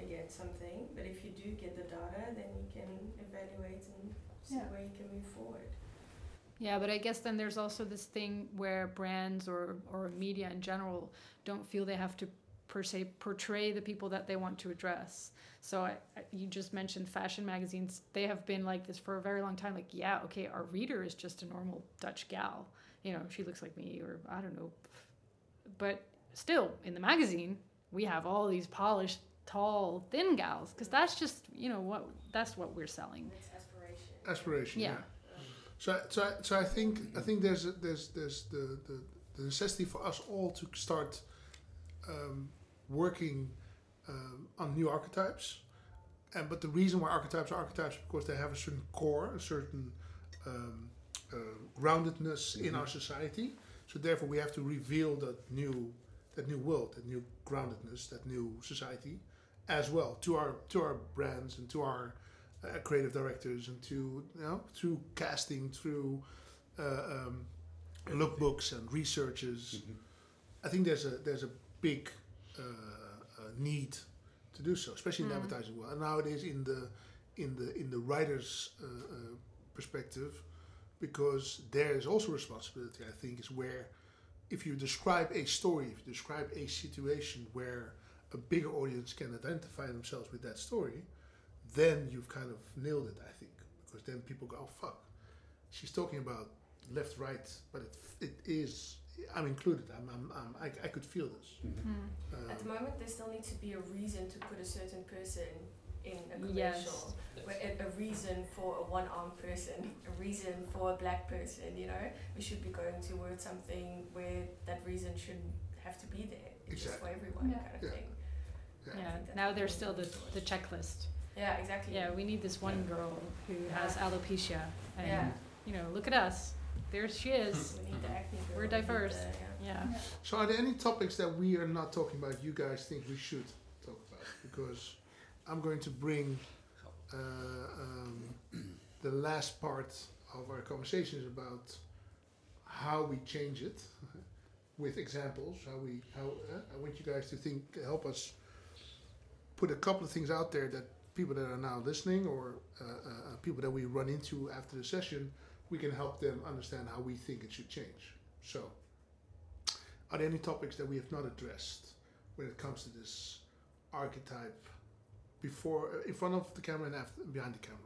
against something. But if you do get the data, then you can evaluate and see
Yeah.
where you can move forward.
Yeah, but I guess then there's also this thing where brands or, or media in general don't feel they have to per se portray the people that they want to address. So I, I, you just mentioned fashion magazines; they have been like this for a very long time. Like, yeah, okay, our reader is just a normal Dutch gal, you know, she looks like me, or I don't know. But still, in the magazine, we have all these polished, tall, thin gals because that's just you know what that's what we're selling.
It's aspiration.
Aspiration.
Yeah.
yeah. So, I- so, I, so I think I think there's a, there's there's the, the the necessity for us all to start um, working um, on new archetypes, and but the reason why archetypes are archetypes is because they have a certain core, a certain um, uh, groundedness in our society. So therefore, we have to reveal that new that new world, that new groundedness, that new society, as well to our to our brands and to our uh, creative directors and to you know through casting through uh, um, lookbooks and researches i think there's a there's a big uh, uh, need to do so especially in the
Mm.
advertising world and nowadays in the in the in the writers uh, uh, perspective because there is also responsibility i think is where if you describe a story if you describe a situation where a bigger audience can identify themselves with that story then you've kind of nailed it, I think, because then people go, "Oh fuck, she's talking about left, right," but it, it is. I'm included. I'm, I'm, I'm I, I could feel this.
Mm.
At the
Um,
moment, there still needs to be a reason to put a certain person in a commercial.
Yes.
Where a- a reason for a one-armed person, a reason for a black person. You know, we should be going towards something where that reason shouldn't have to be there. It's just for everyone,
Yeah.
kind of
Yeah.
thing.
Yeah. Now there's still the the checklist.
Yeah, exactly.
Yeah, we need this one girl who has alopecia, and
Yeah.
you know, look at us. There she is. (laughs)
We need
Mm-hmm.
the acne girl,
We're
we need
diverse.
the- yeah.
Yeah.
so, are there any topics that we are not talking about? You guys think we should talk about? Because I'm going to bring uh, um, the last part of our conversations about how we change it with examples. How we how uh, I want you guys to think, help us put a couple of things out there that people that are now listening or uh, uh, uh, people that we run into after the session, we can help them understand how we think it should change. So, are there any topics that we have not addressed when it comes to this archetype before, uh, in front of the camera and after, behind the camera?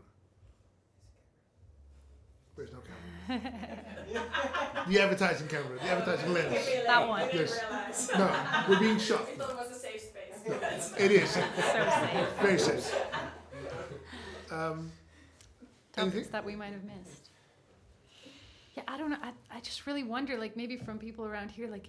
There's no camera. the advertising camera, the advertising lens.
That one.
Yes. No, we're being shot.
We thought it was a safe space.
No, it is.
(laughs) So safe.
Very safe. Um,
topics
Anything?
that we might have missed. Yeah, I don't know. I, I just really wonder, like maybe from people around here, like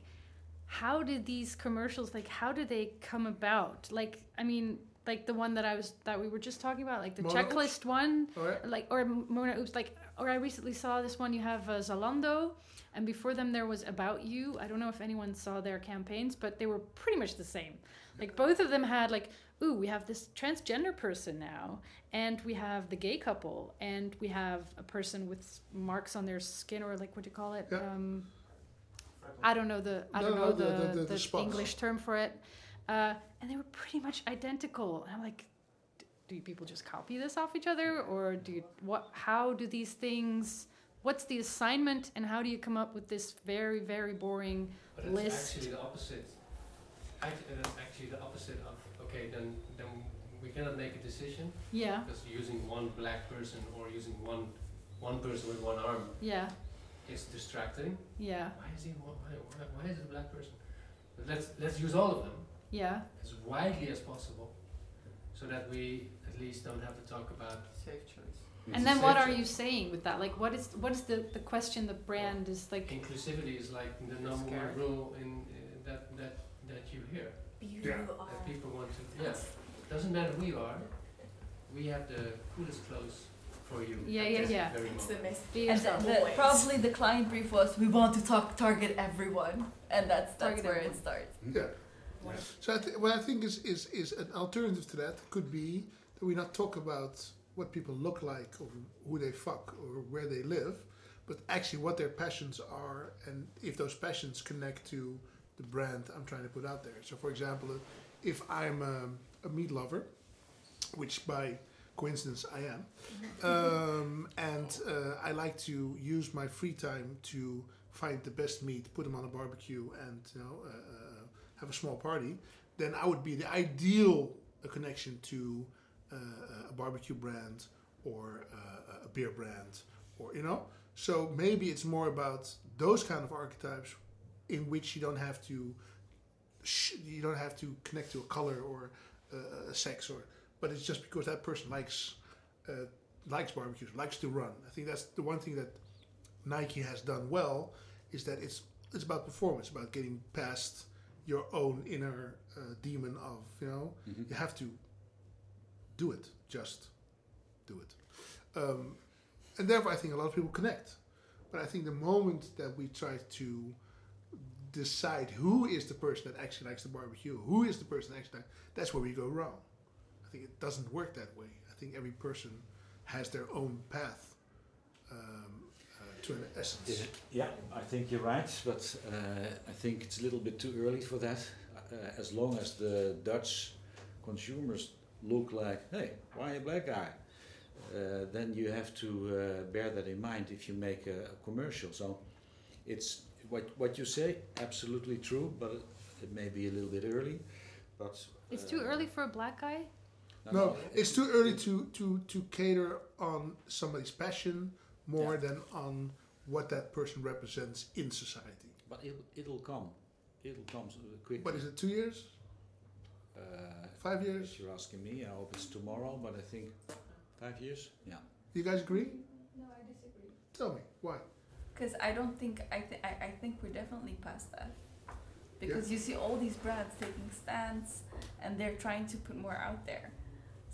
how did these commercials, like how do they come about? Like, I mean, like the one that I was that we were just talking about, like the
Mona Oops?
checklist one,
all right.
like or M- Mona Oops, like or I recently saw this one. You have uh, Zalando, and before them there was About You. I don't know if anyone saw their campaigns, but they were pretty much the same. Like both of them had like, ooh, we have this transgender person now, and we have the gay couple, and we have a person with marks on their skin or like what do you call it?
Yeah.
Um, I don't know the I
No,
don't
no,
know
the-
the,
the- the- the
the
spots.
English term for it, uh, and they were pretty much identical. And I'm like, d- do you people just copy this off each other, or do you what? How do these things? What's the assignment, and how do you come up with this very very boring?
But it's
list.
actually the opposite. Act- uh, That's actually the opposite of okay, then then we cannot make a decision
Yeah,
because using one black person or using one one person with one arm
yeah,
is distracting.
yeah,
Why is he? Why, why, why is it a black person? But let's let's use all of them
yeah,
as widely as possible, so that we at least don't have to talk about
(laughs) Safe choice.
and then what are you saying with that? Like, what is what is the the question the brand is like?
inclusivity is like the number one
Scary.
rule in uh, that that that you hear
You
Yeah.
are.
that people want to. Yeah, doesn't matter who you are, we have the coolest clothes for you.
Yeah,
at
yeah,
this
yeah.
very
It's the
moment.
message.
Be
And
yourself.
the, the,
Always.
probably the client brief was we want to talk target everyone, and that's that's
Target
where
everyone.
it starts.
Yeah. So I th- what I think is, is is an alternative to that could be that we not talk about what people look like or who they fuck or where they live, but actually what their passions are and if those passions connect to the brand I'm trying to put out there. So for example, if I'm a, a meat lover, which by coincidence, I am. Um, and uh, I like to use my free time to find the best meat, put them on a barbecue, and you know, uh, uh, have a small party. Then I would be the ideal uh, connection to uh, a barbecue brand or uh, a beer brand, or you know. So maybe it's more about those kind of archetypes in which you don't have to sh- you don't have to connect to a color or uh, a sex or but it's just because that person likes uh, likes barbecues likes to run i think that's the one thing that nike has done well is that it's it's about performance about getting past your own inner uh, demon of you know you have to do it just do it um, and therefore i think a lot of people connect but i think the moment that we try to decide who is the person that actually likes the barbecue, who is the person that actually likes, that's where we go wrong. I think it doesn't work that way. I think every person has their own path um, uh, to an essence.
Is it- Yeah, I think you're right, but uh, I think it's a little bit too early for that. Uh, as long as the Dutch consumers look like, hey, why a black guy? Uh, then you have to uh, bear that in mind if you make a, a commercial. So it's what what you say, absolutely true, but it may be a little bit early. But
It's
uh,
too early for a black guy.
No, it's too early to, to, to cater on somebody's passion more than on what that person represents in society.
But it'll, it'll come. It'll come quickly.
What is it, two years?
Uh,
Five years?
If you're asking me, I hope it's tomorrow, but I think five years? Yeah.
You guys agree?
No, I disagree.
Tell me, why?
Because I don't think I, th- I I think we're definitely past that. Because you see all these brands taking stands, and they're trying to put more out there.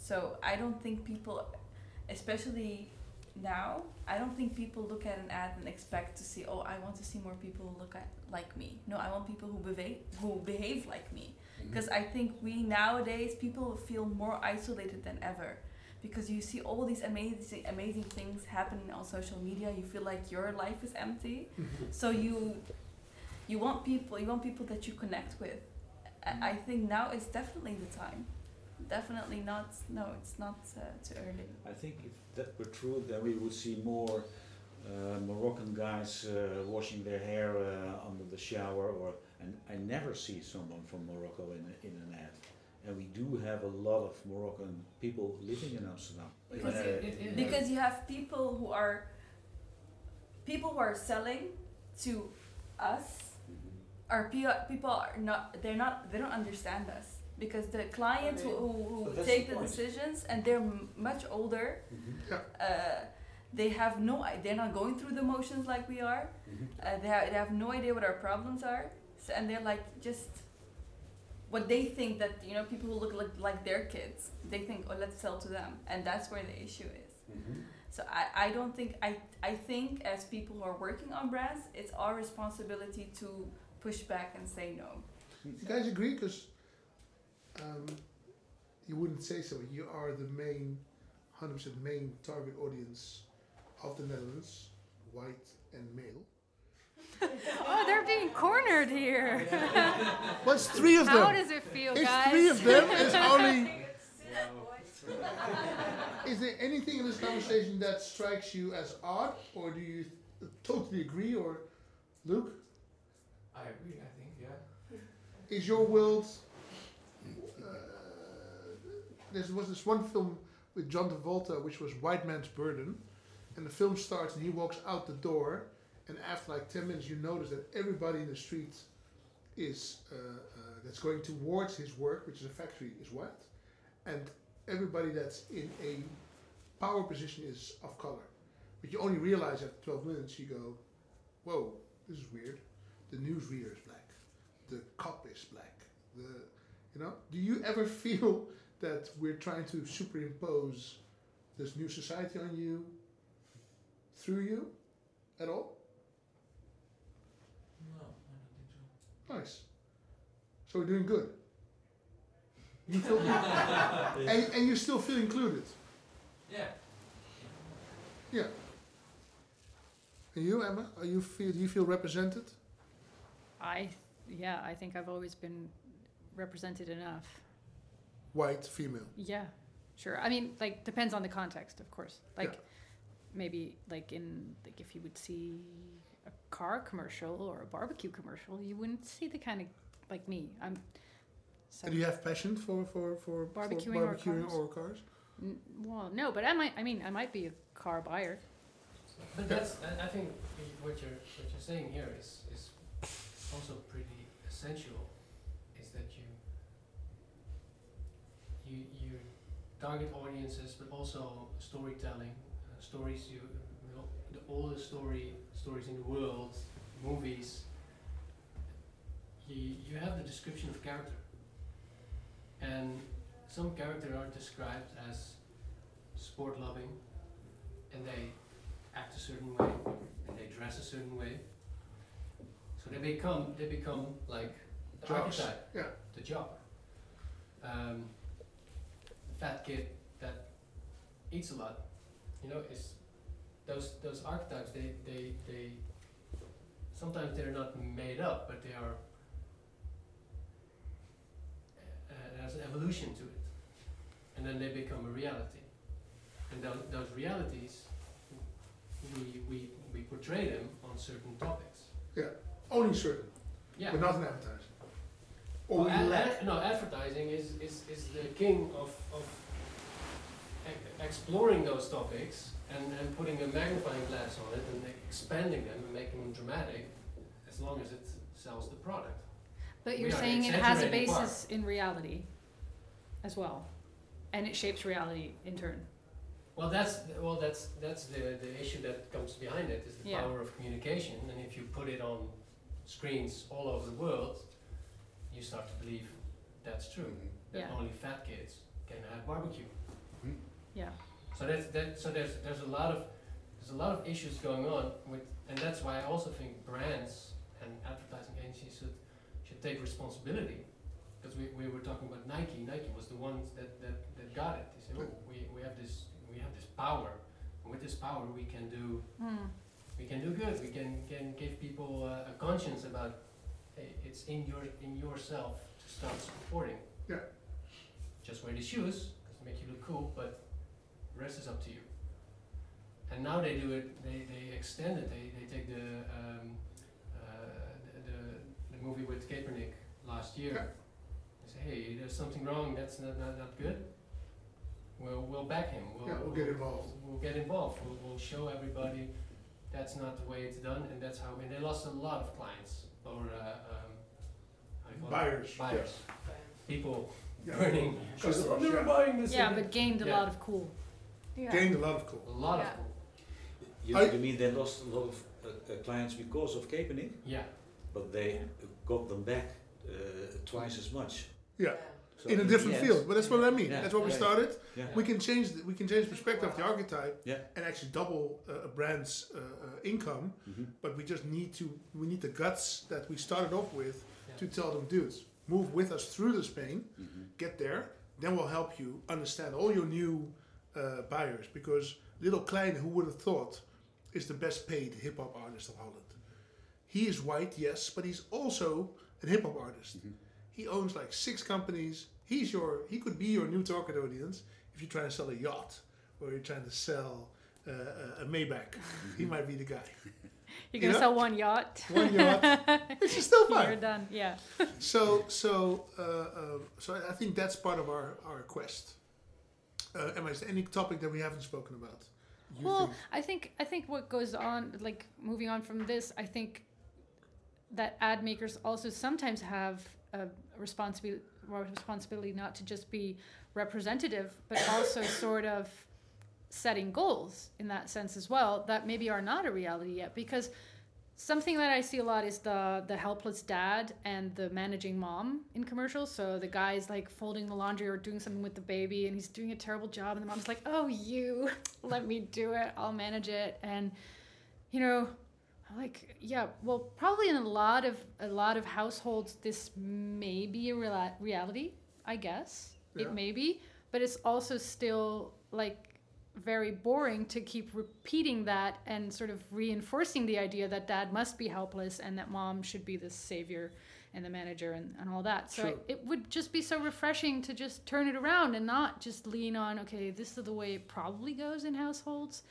So I don't think people, especially now, I don't think people look at an ad and expect to see, oh, I want to see more people who look at like me. No, I want people who behave who behave like me. Because I think we nowadays people feel more isolated than ever. Because you see all these amazing amazing things happening on social media, you feel like your life is empty.
Mm-hmm.
so you you want people you want people that you connect with. I, I think now is definitely the time. Definitely not. No, it's not uh, too early.
I think if that were true, then we would see more uh, Moroccan guys uh, washing their hair uh, under the shower, or and I never see someone from Morocco in, a, in an ad. And we do have a lot of Moroccan people living in Amsterdam.
Because
Uh,
it-
it- it-
because you have people who are people who are selling to us are pe- people are not they're not they don't understand us because the clients who, who,
But
who
that's
take
the
the,
point.
decisions and they're m- much older
Mm-hmm.
Yeah.
uh, they have no i- they're not going through the motions like we are
Mm-hmm.
uh, they, ha- they have no idea what our problems are so, and they're like just what they think that you know people who look like, like their kids they think oh let's sell to them and that's where the issue is
Mm-hmm.
so I, I don't think I I think as people who are working on brands, it's our responsibility to push back and say no.
You guys agree? Because um, you wouldn't say so. You are the main, 100% main target audience of the Netherlands, white and male.
Oh, they're being cornered here.
What's three of
How
them?
does it feel,
It's
guys?
three of
(laughs)
them. It's only. (laughs) Is there anything in this conversation that strikes you as odd, or do you totally agree? Or, Luke,
I agree. I think yeah.
is your world? Uh, there was this one film with John Travolta, which was White Man's Burden, and the film starts and he walks out the door, and after like ten minutes, you notice that everybody in the street is uh, uh, that's going towards his work, which is a factory, is white, and everybody that's in a power position is of color. But you only realize after twelve minutes, you go, "Whoa, this is weird." The newsreader is black the cop is black. The you know, do you ever (laughs) feel that we're trying to superimpose this new society on you through you at all?
No, I don't think so.
Nice. So we're doing good. You feel
Mm-hmm.
and, and you still feel included.
Yeah.
Yeah. And you, Emma, are you feel do you feel represented?
I, yeah, I think I've always been represented enough.
White, female.
Yeah, Sure. I mean, like depends on the context, of course. Like
Yeah.
maybe like in like if you would see a car commercial or a barbecue commercial, you wouldn't see the kind of like me. I'm so
And do you have passion for for for for
Barbecuing or
barbecuing
cars?
or cars?
N- well, no, but I might I mean, I might be a car buyer.
But that's, I I think what you're, what you're saying here is, is also pretty essential, is that you, you, you target audiences, but also storytelling, uh, stories you, you know, the oldest story, stories in the world, movies. You, you have the description of character. And some character are described as sport loving, and they act a certain way and they dress a certain way. So they become they become like the
Jocks.
archetype,
Yeah.
the jock, um, fat kid that eats a lot. You know, it's those those archetypes. They they they sometimes they're not made up, but they are. Uh, there's an evolution to it, and then they become a reality, and those, those realities we, we, we portray them on certain topics.
Only certain,
Yeah.
but not an advertising. Or
Well,
we
ad-
lack.
ad- no, advertising is, is, is the king of, of e- exploring those topics and, and putting a magnifying glass on it and expanding them and making them dramatic as long as it sells the product.
But
We
you're
are
saying it has a
exaggerating
basis in reality as well. And it shapes reality in turn.
Well, that's well, that's that's the, the issue that comes behind it is the
Yeah.
power of communication, and if you put it on screens all over the world, you start to believe that's true. that
Yeah.
only fat kids can have barbecue.
Yeah.
So that's that. So there's there's a lot of there's a lot of issues going on with, and that's why I also think brands and advertising agencies should should take responsibility. Because we, we were talking about Nike. Nike was the ones that, that, that got it. They said, oh, we, we have this we have this power. And with this power, we can do
Mm.
we can do good. We can can give people uh, a conscience about hey, it's in your in yourself to start supporting.
Yeah.
Just wear the shoes because make you look cool, but the rest is up to you. And now they do it. They, they extend it. They, they take the, um, uh, the the the movie with Kaepernick last year.
Yeah.
They say, hey, there's something wrong. That's not not, not good. We'll we'll back him. We'll,
Yeah, we'll get involved.
We'll get involved. We'll, we'll show everybody that's not the way it's done, and that's how. And they lost a lot of clients or uh, um, how do you call it?
Buyers, yeah.
buyers, people
Yeah.
burning.
Customers,
"I'm never
yeah.
buying this.
Yeah,
again."
but gained a
Yeah.
lot of cool.
Yeah.
Gained a lot of cool.
a lot
Yeah.
of people.
You,
I-
you mean they lost a lot of uh, uh, clients because of Kaepernick,
Yeah,
but they got them back uh, twice as much.
Yeah.
So
in a
the
different
end-
field. But that's what I mean.
Yeah.
That's what we
Yeah.
started.
Yeah.
We can change the, we can change perspective of the
Wow.
archetype
Yeah.
and actually double uh, a brand's uh, uh, income.
Mhm.
But we just need to we need the guts that we started off with
Yeah.
to tell them, dudes, move with us through this pain,
Mhm.
get there. Then we'll help you understand all your new uh, buyers because Little Klein, who would have thought, is the best paid hip hop artist of Holland. He is white, yes, but he's also an hip hop artist. He owns like six companies. He's your he could be your new target audience if you're trying to sell a yacht or you're trying to sell uh, a- a Maybach. he might be the guy.
You're
You
gonna
know?
sell one yacht.
One yacht, (laughs) which is still
(laughs) You're
fine.
done. Yeah.
So so uh, uh, so I- I think that's part of our our quest. Uh, Emma, is there any topic that we haven't spoken about? You
well,
think?
I think I think what goes on, like moving on from this, I think that ad makers also sometimes have a responsibility responsibility not to just be representative, but also sort of setting goals in that sense as well that maybe are not a reality yet because something that i see a lot is the the helpless dad and the managing mom in commercials so the guy's like folding the laundry or doing something with the baby and he's doing a terrible job and the mom's like oh you let me do it i'll manage it and you know I'm like yeah well probably in a lot of a lot of households this may be a reala- reality i guess
Yeah.
it may be but it's also still like very boring to keep repeating that and sort of reinforcing the idea that dad must be helpless and that mom should be the savior and the manager and, and all that. So
Sure.
it, it would just be so refreshing to just turn it around and not just lean on, okay, this is the way it probably goes in households.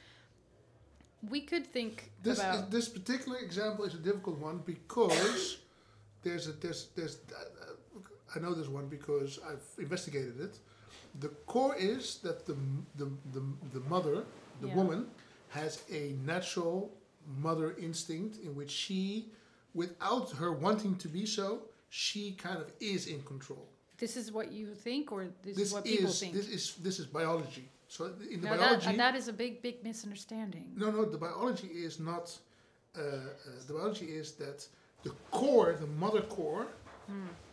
We could think
This
about.
is, this particular example is a difficult one because (coughs) there's a there's there's uh, I know this one because I've investigated it. The core is that the m- the the, the mother, the
Yeah.
woman, has a natural mother instinct in which she, without her wanting to be so, she kind of is in control.
this is what you think, or this,
This
is what people
is
think.
this is this is biology. So in the
now
biology,
that, uh, and that is a big, big misunderstanding.
No, no. The biology is not. Uh, uh, the biology is that the core, the mother core,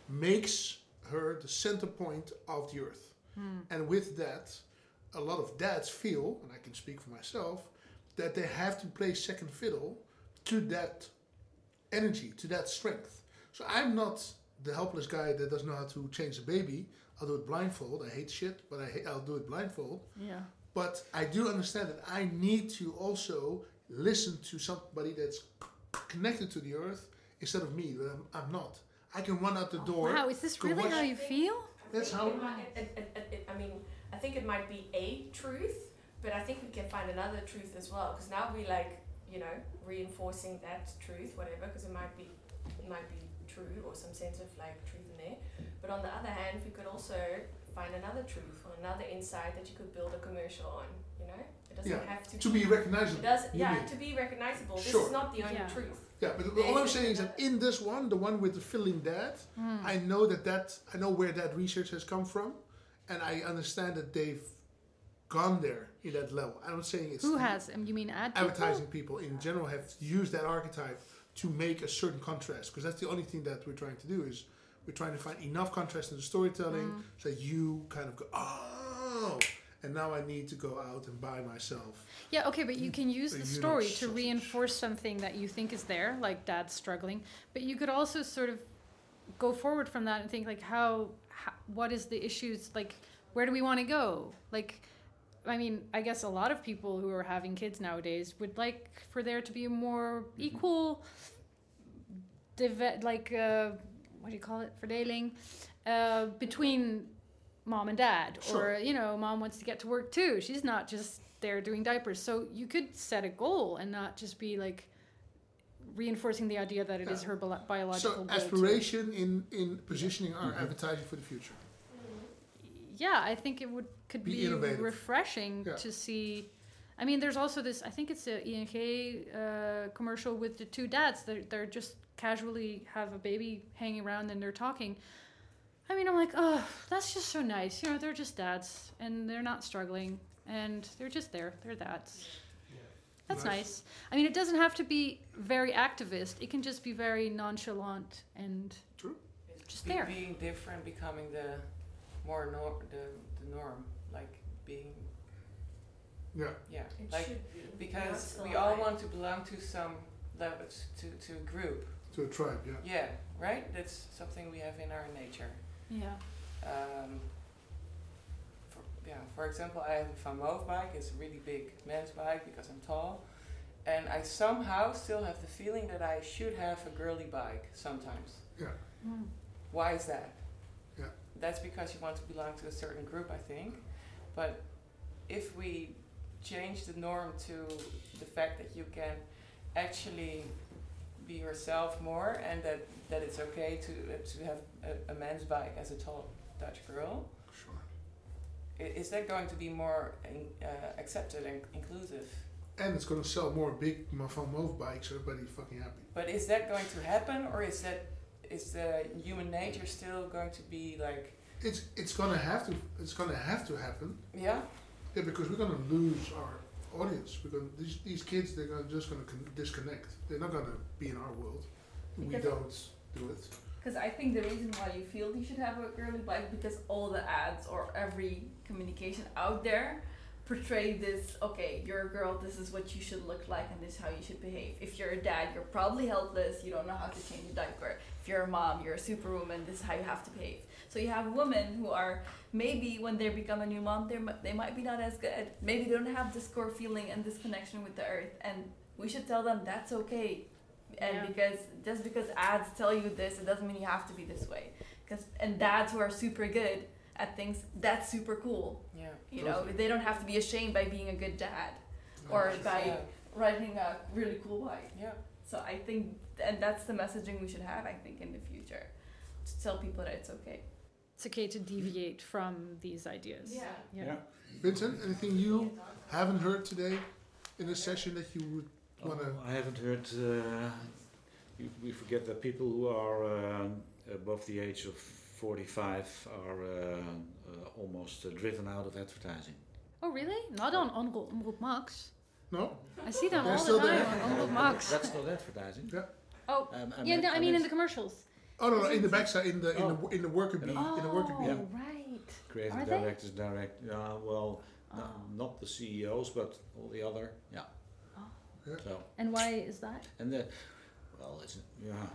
makes her the center point of the earth, and with that, a lot of dads feel, and I can speak for myself, that they have to play second fiddle to that energy, to that strength. So I'm not the helpless guy that doesn't know how to change a baby. I'll do it blindfold. I hate shit, but I ha- I'll do it blindfold.
Yeah.
But I do understand that I need to also listen to somebody that's c- connected to the earth instead of me. But I'm, I'm not. I can run out the door.
Oh, Wow, is this
go
really
watch-
how you feel?
That's
think
how-
It might, it, it, it, it, I mean, I think it might be a truth, but I think we can find another truth as well. Because now we like, you know, reinforcing that truth, whatever. Because it might be, it might be true or some sense of like truth in there. But on the other hand, we could also find another truth or another insight that you could build a commercial on. You know, it doesn't
Yeah,
have to.
to be recognizable.
It does,
you
yeah,
mean.
to be recognizable. This
Sure.
is not the only
Yeah.
truth.
Yeah, but all I'm saying is that in this one, the one with the filling dad,
Hmm.
I know that that I know where that research has come from, and I understand that they've gone there in that level. I'm not saying it's
Who
the
has? um, You mean ad people?
advertising people in general have used that archetype to make a certain contrast because that's the only thing that we're trying to do is we're trying to find enough contrast in the storytelling so that you kind of go oh and now i need to go out and buy myself
Yeah, okay, but you can use
But
the
you know
story to
sausage.
reinforce something that you think is there, like dad's struggling. But you could also sort of go forward from that and think like how, how what is the issues like where do we want to go? Like I mean, I guess a lot of people who are having kids nowadays would like for there to be a more
Mm-hmm.
equal deve- like uh, what do you call it? Verdeling uh, between mom and dad
Sure.
or you know mom wants to get to work too she's not just there doing diapers so you could set a goal and not just be like reinforcing the idea that it is
Yeah.
her bi- biological
so
goal to-
aspiration in in positioning our advertising for the future
yeah i think it would could
Be
be,
innovative.
refreshing
Yeah.
to see i mean there's also this i think it's a enk uh, commercial with the two dads they're, they're just casually have a baby hanging around and they're talking i mean i'm like oh that's just so nice you know they're just dads and they're not struggling and they're just there they're dads that's
Nice.
nice. I mean, it doesn't have to be very activist. It can just be very nonchalant and
It's
Just there.
Being different, becoming the more nor- the, the norm, like being
yeah
yeah,
It
like
should be.
because
That's the
we all
line.
want to belong to some level to to a group.
to a tribe yeah
Yeah, right. That's something we have in our nature.
yeah.
Um, for, yeah, for example, I have a Van Moof bike. It's a really big men's bike because I'm tall, and I somehow still have the feeling that I should have a girly bike sometimes.
yeah
Mm.
Why is that?
Yeah.
That's because you want to belong to a certain group, I think. But if we change the norm to the fact that you can actually be yourself more and that, that it's okay to, to have a, a man's bike as a tall Dutch girl,
sure
i- is that going to be more in, uh, accepted and inclusive?
and it's going to sell more big Mafan Move bikes so everybody's fucking happy
But is that going to happen or is that is the human nature still going to be like,
it's it's going to have to it's going to have to happen
yeah?
yeah because we're going to lose our audience we're going to, these, these kids they're gonna, just going to con- disconnect they're not going to be in our world we
Because-
don't do it
Because I think the reason why you feel you should have a girly bike because all the ads or every communication out there portray this. Okay, you're a girl. This is what you should look like, and this is how you should behave. If you're a dad, you're probably helpless. You don't know how to change a diaper. If you're a mom, you're a superwoman. This is how you have to behave. So you have women who are maybe when they become a new mom, they they might be not as good. Maybe they don't have this core feeling and this connection with the earth, and we should tell them that's okay. and
Yeah.
because just because ads tell you this, it doesn't mean you have to be this way. Because and dads who are super good at things, that's super cool.
Yeah.
You know, they don't have to be ashamed by being a good dad or by
Yeah.
riding a really cool bike.
Yeah.
So I think, and that's the messaging we should have. I think in the future, to tell people that it's okay.
It's okay to deviate from these ideas.
Yeah.
Yeah.
Yeah.
Vincent, anything you haven't heard today in a session that you would want to?
Oh, I haven't heard. Uh, you, we forget that people who are uh, above the age of 45 are uh, uh, almost uh, driven out of advertising.
Oh, really? Not on Omroep Omroep Max.
No,
I see them
They're
all the
still
time
there.
on Omroep oh, Max.
That's not advertising.
Oh,
Um, and
yeah,
that-
no, I
and
mean in the
that's
commercials.
oh no, no in the backside, in the in
Oh.
the in the worker bee,
Oh,
in the worker bee.
Yeah.
right.
creative
are they?
directors direct. Yeah, well, no,
Oh.
not the CEOs, but all the other. Yeah.
Oh.
Yeah.
So
And why is that?
and the, well, it's yeah. Uh,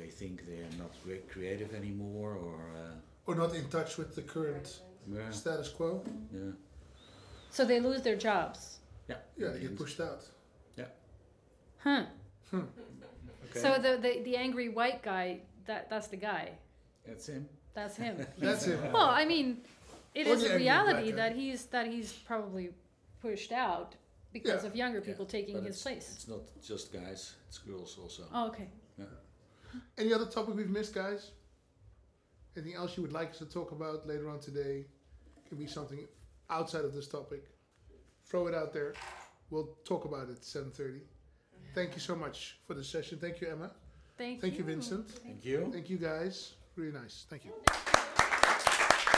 they think they're not re- creative anymore, or uh,
Or not in touch with the current
yeah,
status quo.
yeah.
So they lose their jobs.
Yeah, you get pushed out.
Huh.
Okay.
So the, the the angry white guy, that that's the guy.
that's him.
That's
(laughs)
him.
That's it.
well, I mean, it
Or
is
the
a
angry
reality
black guy.
that he's that he's probably pushed out because
Yeah.
of younger
Yeah,
people taking
But
his
it's-
place.
It's not just guys, it's girls also.
Oh, okay.
Any other topic we've missed, guys? Anything else you would like us to talk about later on today? Can be something outside of this topic. Throw it out there. We'll talk about it at 7.30. Thank you so much for the session. Thank you, Emma.
Thank,
Thank you, Vincent.
Thank you.
Thank you, guys. Really nice. Thank you.